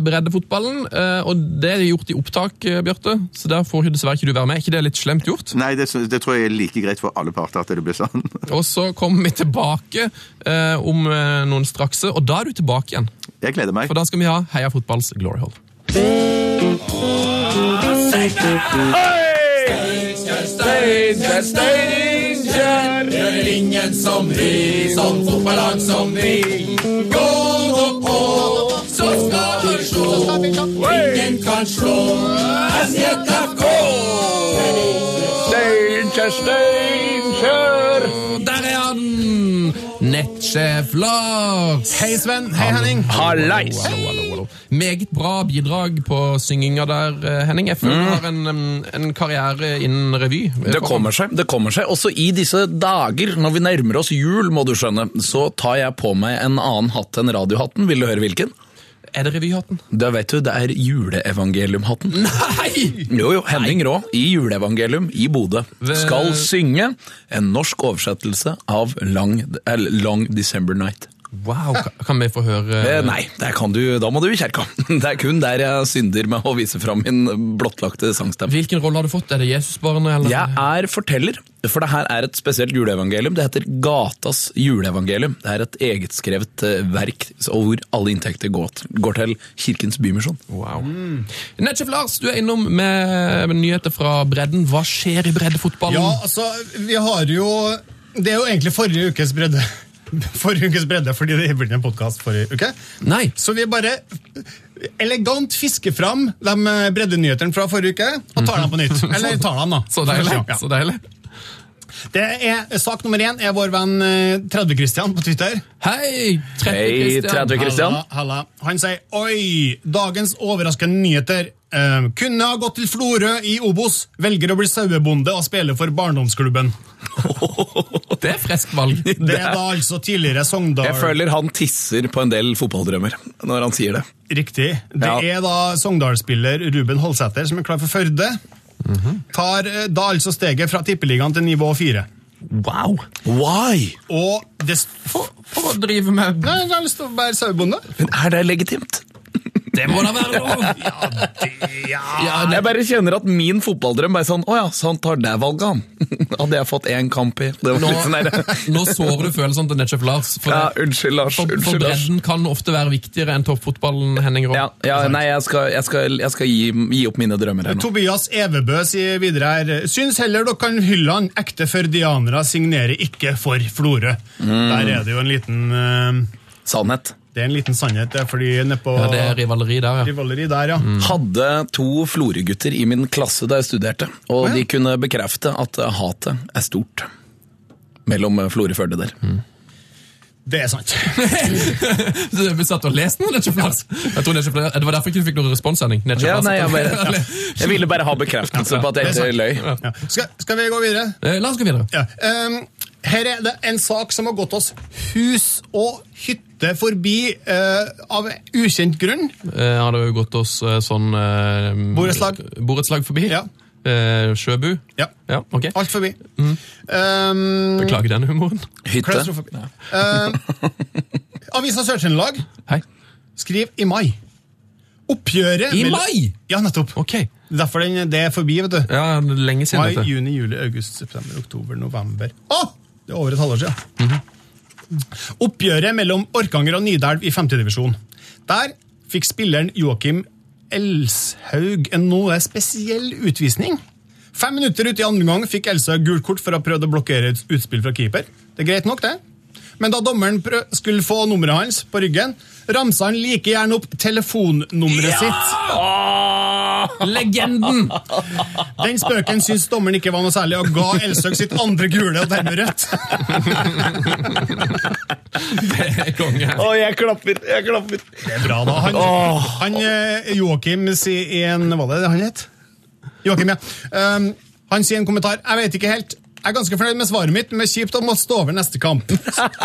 S3: breddefotballen, eh, og det er gjort i opptak, eh, Bjarte. Så der får dessverre ikke du være med. Er ikke det litt slemt gjort?
S4: Nei, det, det tror jeg er like greit for alle parter at det blir sånn.
S3: Og så kommer vi tilbake eh, om eh, noen strakse, og da er du tilbake igjen.
S4: Jeg gleder meg.
S3: For da skal vi ha Heia fotballs glory hall. Der er han! Nettsjef Lars!
S6: Hei, Sven. Hei, Henning.
S2: Hallais!
S3: Hallo, hallo, hallo. Meget bra bidrag på synginga der, eh, Henning. Jeg føler du har en, em, en karriere innen revy.
S2: Mm. Det kommer seg. det kommer seg. Også i disse dager, når vi nærmer oss jul, må du skjønne, så tar jeg på meg en annen hatt enn radiohatten. Vil du høre hvilken?
S3: Er det revyhatten?
S2: Da vet du, det er juleevangeliumhatten.
S3: Nei!
S2: Jo, jo, Henning Rå i Juleevangelium i Bodø
S3: Ve-
S2: skal synge en norsk oversettelse av Long, eller Long December Night.
S3: Wow, ka- kan vi få høre
S2: Eh, nei, der kan du, da må du i kjerka. Det er kun der jeg synder med å vise fram min blottlagte sangstemme.
S3: Hvilken rolle har du fått? Er det Jesusbarnet, eller?
S2: Jeg er forteller, for det her er et spesielt juleevangelium. Det heter Gatas juleevangelium. Det er et egetskrevet eh, verk så- og hvor alle inntekter går t- går til Kirkens Bymisjon.
S3: Wow. Netchef Lars, du er innom med nyheter fra bredden. Hva skjer i breddefotballen?
S6: Ja, altså, vi har jo Det er jo egentlig forrige ukes bredde. Forrige ukes bredde, fordi det ble en podkast forrige uke.
S3: Nei.
S6: Så vi bare elegant fisker fram de eh, breddenyhetene fra forrige uke og tar dem på nytt. Eller tar dem, da.
S3: Så deilig.
S6: Ja.
S3: Så deilig.
S6: Det er, sak nummer én er vår venn 30-Christian på Twitter.
S3: Hei! 30
S2: Hei,
S3: Christian.
S2: 30 Christian.
S6: Halla, halla. Han sier 'oi, dagens overraskende nyheter'. Eh, kunne ha gått til Florø i Obos, velger å bli sauebonde og spille for barndomsklubben.
S3: Det er friskt valg.
S6: Det er da altså tidligere Sogndal
S2: Jeg føler han tisser på en del fotballdrømmer når han sier det.
S6: Riktig. Det
S2: Ja.
S6: er da Sogndal-spiller Ruben Holsæter som er klar for Førde. Tar eh, da altså steget fra tippeligaen til nivå fire.
S3: Wow.
S2: Why?
S6: Og det st-
S3: For, for å drive med
S6: Nei, jeg har lyst til å være sauebonde.
S2: Men er det legitimt?
S3: Det må da være lov!
S2: jeg bare kjenner at min fotballdrøm er sånn Å ja, så han tar det valget, han. Hadde jeg fått én kamp i Det var
S3: Nå,
S2: litt sånn der.
S3: nå sårer du følelsene til Netchef Lars. For,
S2: Ja, unnskyld, Lars.
S3: for, for
S2: Unnskyld, Lars.
S3: bredden kan ofte være viktigere enn toppfotballen, Henning Rom.
S2: Ja, ja, nei, jeg skal, jeg skal, jeg skal gi, gi opp mine drømmer her nå.
S6: Tobias Evebø sier videre her Syns heller dere kan hylle han. Ekte førdianere signerer ikke for Florø. Der er det jo en liten eh,
S2: Sannhet.
S6: Det er en liten sannhet, det, er fordi nedpå
S3: Ja, det er rivaleri der, ja.
S6: rivaleri der, ja.
S2: Mm.
S3: Mm.
S2: Hadde to Florø-gutter i min klasse da jeg studerte, og de kunne bekrefte at hatet er stort mellom Florø-Førde der.
S6: Det er sant.
S3: Vi satt og leste den, Netchef Lars. Jeg tror Netchef, det var derfor ikke vi fikk noen responssending. Netchef
S2: Ja,
S3: Lars.
S2: nei, jeg, bare, jeg ville bare ha bekreftelse på at jeg ikke løy.
S6: Ja. Skal, skal vi gå videre?
S3: Eh, La oss gå videre.
S6: Ja. ehm, her er det en sak som har gått oss hus og hytte forbi eh, av ukjent grunn.
S3: Eh, har det jo gått oss eh, sånn eh,
S6: Borettslag.
S3: borettslag forbi.
S6: Ja.
S3: Eh, sjøbu.
S6: Ja.
S3: Ja, ok.
S6: Alt forbi.
S3: Mm.
S6: Ehm,
S3: Beklager den humoren.
S2: Hytte.
S6: klaustrofobi. Ehm, Avisa Sør-Trøndelag
S3: Hei.
S6: skriver i mai. Oppgjøret
S3: I
S6: mellom-
S3: mai?
S6: Ja, nettopp.
S3: Ok.
S6: Derfor den, det er forbi, vet du.
S3: Ja, det er lenge siden
S6: Mai,
S3: dette.
S6: juni, juli, august, september, oktober, november. Å! Det er over et halvår siden.
S3: Mhm.
S6: Oppgjøret mellom Orkanger og Nidelv i femtedivisjon. Der fikk spilleren Joakim Elshaug en noe spesiell utvisning. Fem minutter ute i andre omgang fikk Elshaug gult kort for å ha prøvd å blokkere et utspill fra keeper. Det er greit nok, det. Men da dommeren prø- skulle få nummeret hans på ryggen, ramsa han like gjerne opp telefonnummeret sitt.
S3: Legenden!
S6: Den spøken syns dommeren ikke var noe særlig, og ga Elsøk sitt andre gule og dermed rødt.
S3: Det er konge.
S2: Å, jeg klapper, jeg klapper.
S6: Det er bra, da. Han, han eh, Joakim sier i en Hva var det han het? Joakim, ja. Um, han sier i en kommentar Jeg vet ikke helt. Jeg er ganske fornøyd med svaret mitt, men kjipt å måtte stå over neste kamp.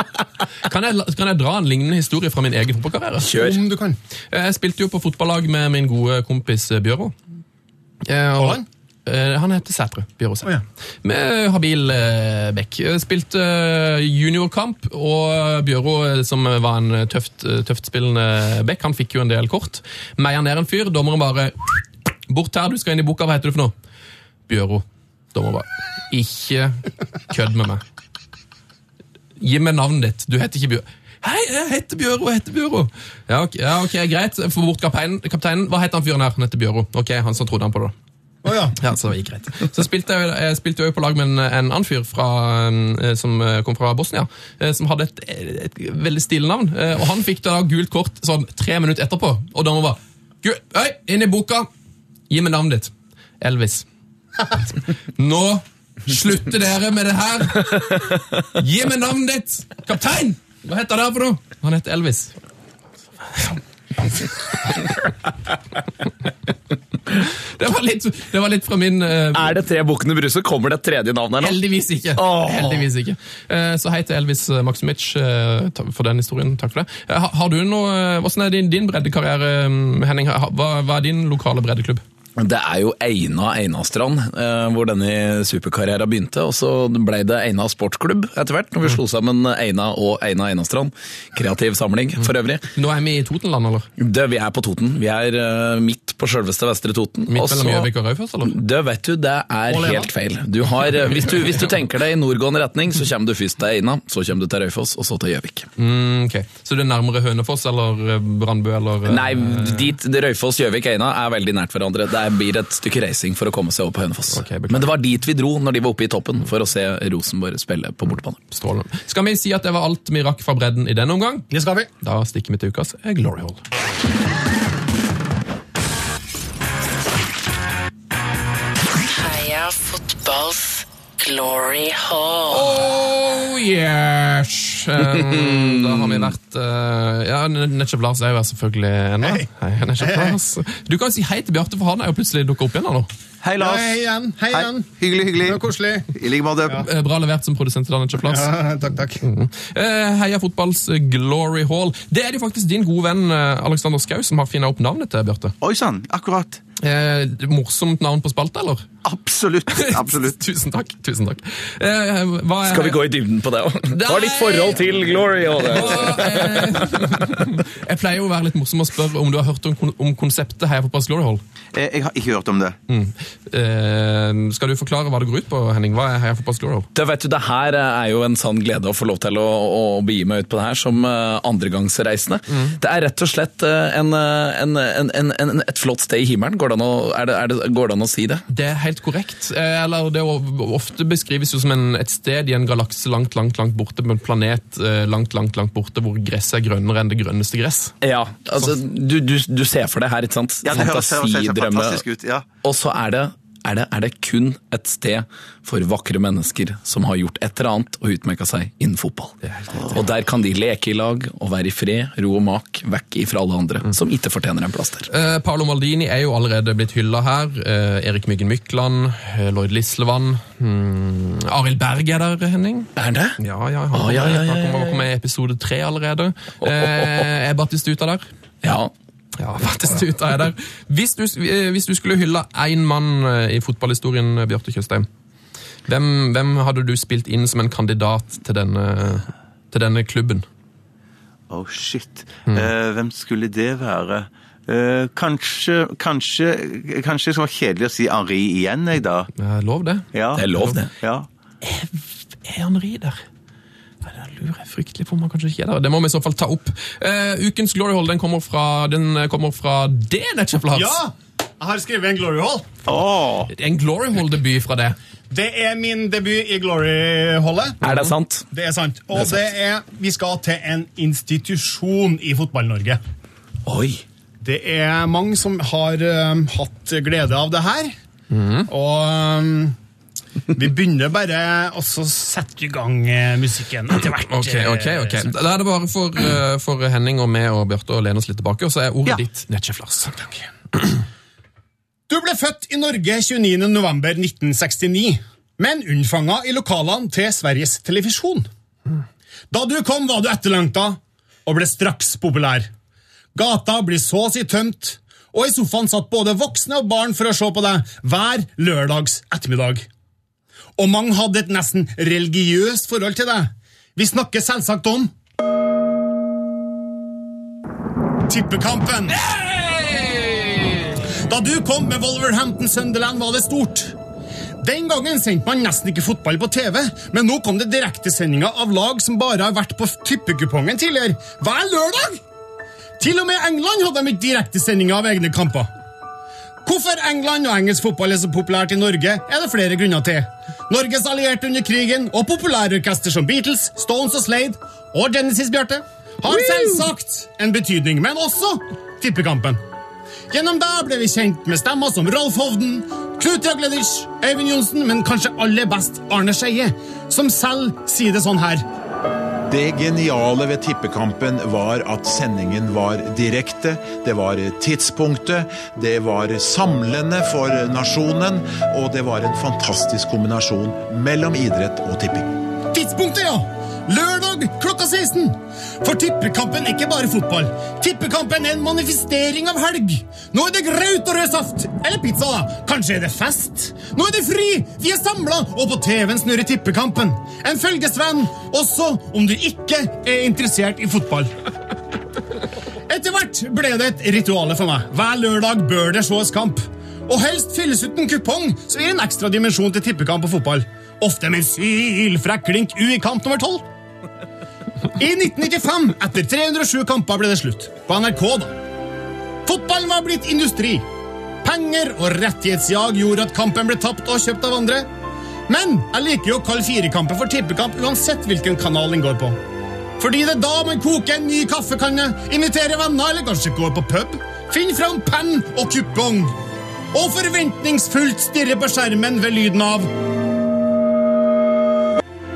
S3: Kan jeg, kan jeg dra en lignende historie fra min egen fotballkarriere?
S2: Kjør.
S6: Om du kan.
S3: Eh, Jeg spilte jo på fotballag med min gode kompis eh, Bjøro. Eh,
S6: Og han?
S3: Eh, Han heter Sætre. Bjøro Sætre.
S6: Å, ja.
S3: Med habil eh, bekk. Eh, Spilte eh, juniorkamp, og Bjøro, eh, som var en eh, tøft, eh, tøftspillende bekk, han fikk jo en del kort. Meier ned en fyr, dommeren bare Bort her, du skal inn i boka, hva heter du for noe? Bjøro. Dommer bare Ikke kødd med meg. Gi meg navnet ditt. Du heter ikke Bjøro. Hei, jeg heter Bjøro, jeg heter Bjøro. Ja, ok, ja, ok greit. Få bort kapteinen. kapteinen. Hva heter han fyren her? Han heter Bjøro. Ok, han som trodde han på det. da.
S6: Å ja.
S3: Ja, så det gikk greit. Så spilte jeg, jeg spilte jo på lag med en, en annen fyr fra, eh, som eh, kom fra Bosnia, eh, som hadde et, et veldig stille navn. Eh, Og han fikk da gult kort sånn tre minutter etterpå, og da må bare «Gu- Øy, inn i boka! Gi meg navnet ditt. Elvis. Nå slutter dere med det her! Gi meg navnet ditt! Kaptein! Hva heter han her for noe? Han heter Elvis. Det var litt, det var litt fra min eh,
S2: Er det tre bukkene Bruse? Kommer det et tredje navn her nå?
S3: Heldigvis ikke.
S2: Åh.
S3: Heldigvis ikke. Eh, Så hei til Elvis eh, Maximic eh, ta- for den historien. Takk for det. Eh, ha- Har du noe, eh, Hvordan er din, din breddekarriere, eh, Henning? Ha- Hva, hva er din lokale breddeklubb?
S2: Det er jo Eina Einastrand, eh, hvor denne superkarrieren begynte. Og så ble det Eina sportsklubb etter hvert, når vi slo sammen Eina og Eina Einastrand. Kreativ samling, for øvrig.
S3: Nå er vi i Totenland, eller?
S2: Det, vi er på Toten. Vi er eh, midt på sjølveste Vestre Toten.
S3: Midt
S2: Og så-
S3: mellom Gjøvik og Raufoss, eller?
S2: Det vet du, det er
S6: Og Lena.
S2: helt feil. Du har, eh, hvis, du, hvis du tenker deg i nordgående retning, så kommer du først til Eina, så kommer du til Raufoss, og så til Gjøvik.
S3: Mm, ok. Så det er nærmere Hønefoss eller eh, Brandbu eller eh,
S2: Nei, dit Røyfoss, Gjøvik, Eina er veldig nært hverandre. Det blir et stykke reising for å komme seg over på Hønefoss.
S3: Ok, beklager.
S2: Men det var dit vi dro når de var oppe i toppen, for å se Rosenborg spille på bortebane.
S3: Strålende. Skal vi si at det var alt vi rakk fra bredden i denne omgang?
S6: Det skal vi.
S3: Da stikker vi til ukas eh, Glory Hall.
S7: Heia fotballs Glory Hall.
S3: Oh yes! Um, da har vi vært uh, Ja, Netchef Lars er jo her selvfølgelig ennå.
S6: Hei.
S3: Hei, Netchef Lars. Du kan jo si hei til Bjarte, for han er jo plutselig dukket opp igjen. her nå.
S4: Hei,
S6: Ja,
S4: Lars.
S6: Hei igjen. Hei
S4: Hei.
S6: igjen.
S4: Hyggelig,
S6: Det var
S4: hyggelig.
S6: koselig.
S4: I like måte.
S3: Eh, Bra levert som produsent i dag, Netchef Lars.
S6: Ja, takk, takk.
S3: Eh, Heia fotballs eh, Glory Hall. Det er det jo faktisk din gode venn eh, Alexander Skau som har funnet opp navnet til, Bjarte.
S4: Oi sann, akkurat.
S3: Eh, morsomt navn på spalta, eller?
S4: Absolutt. Absolutt.
S3: tusen takk. tusen takk. Eh, hva er,
S2: Skal vi gå i dybden på det òg? Hva er ditt forhold til Glory? og det?
S3: Hva er- eh, jeg pleier jo å være litt morsom og spørre om du har hørt om, kon- om konseptet Heia fotballs Glory Hall.
S4: Eh, Jeg har ikke hørt om det.
S2: Hmm.
S3: Eh, skal du forklare hva det går ut på, Henning? Hva er Heia fotballs Glory Hall?
S2: Det, vet du, det her er jo en sann glede å få lov til å, å begi meg ut på det her som eh, andregangsreisende.
S4: Mm.
S2: Det er rett og slett eh, en, eh, en, en, en, en, et flott sted i himmelen. Går det an å, er det, er det, går det an å si det?
S3: Det er helt korrekt. Eh, Eller det er jo ofte beskrives jo som en, et sted i en galakse langt, langt, langt borte, på en planet eh, langt, langt, langt borte, hvor gresset er grønnere enn det grønneste gress.
S2: Ja, altså du, du, du ser for deg her, ikke sant?
S4: Ja, det høres, høres helt
S2: Fantasidrømme.
S4: fantastisk ut. Ja.
S2: Og så er det, er, det, er det kun et sted for vakre mennesker som har gjort et eller annet og utmerka seg innen fotball. Og der kan de leke i lag og være i fred, ro og mak, vekk ifra alle andre
S4: Mm.
S2: som ikke fortjener en plass der.
S3: Eh, Paolo Maldini er jo allerede blitt hylla her. Eh, Erik Myggen Mykland, eh, Lloyd Lislevann hmm, Arild Berg er der, Henning.
S2: Er det?
S3: Ja, ja, han
S2: Å,
S3: kommer,
S2: Ah, ja, ja, ja,
S3: han
S2: ja,
S3: kommer,
S2: ja.
S3: kommer i episode tre allerede. Eh, er Battistuta der?
S2: Ja.
S3: Ja, Battistuta er der. Hvis du, eh, hvis du skulle hylla én mann eh, i fotballhistorien, eh, Bjarte Tjøstheim, hvem, hvem hadde du spilt inn som en kandidat til denne, til denne klubben?
S4: Oh shit.
S2: Mm.
S4: Eh, hvem skulle det være? Eh, kanskje, kanskje Kanskje det skal være kjedelig å si Henri igjen, jeg, da.
S3: Eh, lov det?
S4: Ja.
S2: Det er lov, det.
S4: Ja.
S3: Er han ri der? Nei, da lurer jeg fryktelig på om han kanskje ikke er der. Det må vi i så fall ta opp. Eh, ukens Glory Hall den kommer fra, den eh, kommer fra det, Netchef Lars.
S6: Ja! Jeg har skrevet en Glory Hall.
S4: Åh!
S3: En Glory Hall-debut fra det.
S6: Det er min debut i Glory Hallet.
S2: Er det sant?
S6: Det er sant. Og det er, vi skal til en institusjon i Fotball-Norge.
S2: Oi.
S6: Det er mange som har øhm, hatt glede av det her. Og øhm, vi begynner bare å så sette i gang eh, musikken etter hvert.
S3: Ok, ok, ok. Da er det bare for, eh, for Henning og meg og Bjarte å lene oss litt tilbake, og så er ordet
S4: Ja.
S3: ditt Netchef Lars. Takk.
S6: Du ble født i Norge 29. november 1969, men unnfanga i lokalene til Sveriges Televisjon. Da du kom, var du etterlengta og ble straks populær. Gata blir så å si tømt, og i sofaen satt både voksne og barn for å se på deg hver lørdags ettermiddag. Og mange hadde et nesten religiøst forhold til deg. Vi snakker selvsagt om Tippekampen! Da du kom med Wolverhampton Sunderland var det stort. Den gangen sendte man nesten ikke fotball på TV, men nå kom det direktesendinger av lag som bare har vært på tippekupongen tidligere, hver lørdag! Til og med England hadde de ikke direktesendinger av egne kamper. Hvorfor England og engelsk fotball er så populært i Norge, er det flere grunner til. Norges allierte under krigen og populærorkester som Beatles, Stones og Slade og Genesis, Bjarte, har selvsagt en betydning, men også tippekampen. Gjennom deg ble vi kjent med stemmer som Rolf Hovden, Knut Ragledic, Øyvind Johnsen, men kanskje aller best Arne Skeie, som selv sier det sånn her.
S8: Det geniale ved tippekampen var at sendingen var direkte, det var tidspunktet, det var samlende for nasjonen, og det var en fantastisk kombinasjon mellom idrett og tipping.
S6: Tidspunktet, ja! Lørdag klokka 16. For tippekampen er ikke bare fotball. Tippekampen er en manifestering av helg. Nå er det graut og rød saft. Eller pizza, da. Kanskje er det fest? Nå er det fri! Vi er samla, og på TV-en snurrer tippekampen. En følgesvenn, også om du ikke er interessert i fotball. Etter hvert ble det et ritual for meg. Hver lørdag bør det ses kamp. Og helst fylles ut en kupong som gir en ekstra dimensjon til tippekamp og fotball. Ofte med en sylfrekk klink U i kamp nummer 12. I 1995, etter 307 kamper, ble det slutt. På NRK, da. Fotballen var blitt industri. Penger og rettighetsjag gjorde at kampen ble tapt og kjøpt av andre. Men jeg liker jo å kalle firekampen for tippekamp uansett hvilken kanal den går på. Fordi det er da man koker en ny kaffekanne, inviterer venner eller kanskje går på pub. Finn fram penn og kupong. Og forventningsfullt stirrer på skjermen ved lyden av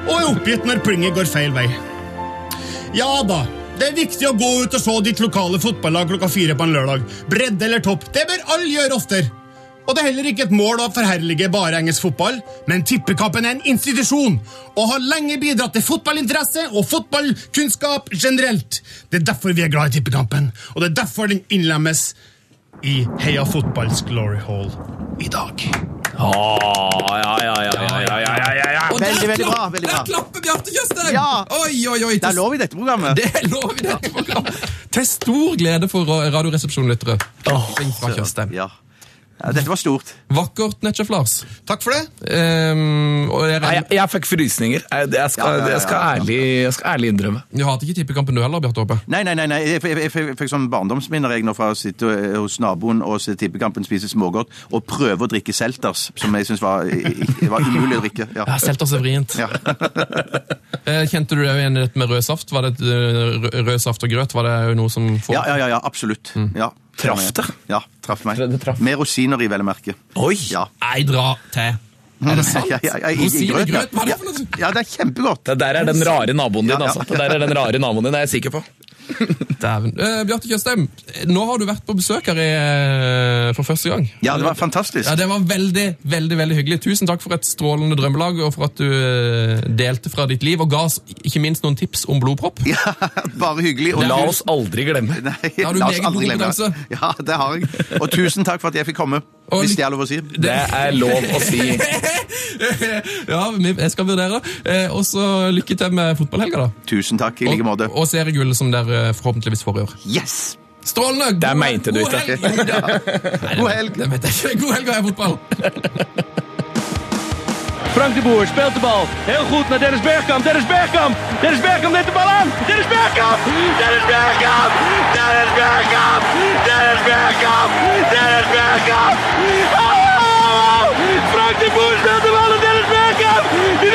S6: og er oppgitt når plinget går feil vei. Ja da, det er viktig å gå ut og se ditt lokale fotballag klokka fire på en lørdag. Bredde eller topp, det bør alle gjøre oftere. Og det er heller ikke et mål å forherlige bare engelsk fotball, men tippekampen er en institusjon og har lenge bidratt til fotballinteresse og fotballkunnskap generelt. Det er derfor vi er glad i tippekampen, og det er derfor den innlemmes i Heia fotballs glory hall i dag.
S2: ja, ja, ja, ja, ja, ja, ja, ja, ja.
S3: Og
S4: Veldig,
S3: der
S4: veldig
S3: klapp-
S4: bra, veldig bra.
S3: Der klapper Bjarte Tjøstheim!
S4: Ja.
S3: Oi, oi, oi.
S4: Det er lov i dette programmet.
S3: Det er lov i dette programmet. Til stor glede for ra- Radioresepsjonen-lyttere. Klapping fra Tjøstheim.
S4: Ja. ja. Dette var stort.
S3: Vakkert, Netchef Lars.
S6: Takk for det.
S3: Ehm, og
S2: Nei,
S3: jeg,
S2: jeg,
S3: regner-
S2: jeg fikk frysninger. Jeg, jeg, skal,
S4: Ja, ja, ja,
S2: jeg, skal
S4: ja.
S2: ærlig, jeg skal ærlig innrømme.
S3: du hater ikke tippekampen du heller, Bjarte Håpe?
S4: Nei, nei, nei, nei. Jeg, jeg, jeg, jeg fikk sånn barndomsminner jeg nå fra å sitte eh, hos naboen og se Tippekampen spise smågodt og prøve å drikke Selters, som jeg syns var, i- i- var umulig å drikke. Ja.
S3: Ja, Selters er vrient.
S4: Ja.
S3: Eh, Kjente du deg igjen i dette med rød saft? Var det eh, rød- rød saft og grøt? Var det jo noe som får...
S4: Ja, ja, ja, ja absolutt.
S3: Mm.
S4: Ja.
S2: Traff det?
S4: Ja, traff meg.
S2: Det traff.
S4: Med rosiner i, vel å merke.
S2: Oi!
S4: Ja. Mm.
S3: Nei, dra til. Er det sant?
S4: Ja, ja, ja, i- i
S3: Rosin i
S4: grøt, ja.
S3: grøt? Hva er det for noe?
S4: Ja, det er kjempegodt.
S2: Det der er den rare naboen din,
S4: Ja, ja.
S2: altså. Det der er den rare naboen din, det er jeg sikker på.
S3: Dæven. Eh, Bjarte Tjøstheim, nå har du vært på besøk her i, eh, for første gang.
S4: Ja, det var fantastisk.
S3: Ja, Det var veldig veldig, veldig hyggelig. Tusen takk for et strålende drømmelag, og for at du eh, delte fra ditt liv og ga oss ikke minst noen tips om blodpropp.
S4: Ja, bare hyggelig. Og
S2: La oss aldri glemme.
S4: Nei,
S3: Ja, du
S4: la oss
S3: meget
S4: aldri
S3: god
S4: glemme det.
S3: kompetanse.
S4: Ja, det har jeg. Og tusen takk for at jeg fikk komme.
S3: Og
S4: Hvis
S3: lykke-
S4: det er lov å si.
S2: Det er lov å si.
S3: ja, vi- jeg skal vurdere. Eh, Og så lykke til med fotballhelga, da.
S4: Tusen takk i like måte.
S3: Og, og seriegullet som dere eh, forhåpentligvis får i år.
S4: Yes!
S3: Strålende! God,
S2: Der mente du
S3: god
S2: ikke.
S3: helg! Nei, det-
S4: God helg.
S3: Det mente jeg ikke. God helg og heia fotball!
S1: Frank de Boer speelt de bal. Heel goed naar Dennis Bergkamp. Dennis Bergkamp. Dennis Bergkamp neemt de bal aan. Dennis Bergkamp. Dennis Bergkamp. Dennis Bergkamp. Dennis Bergkamp. Dennis Bergkamp. Oh! Frank de Boer speelt de bal aan Dennis Bergkamp. Die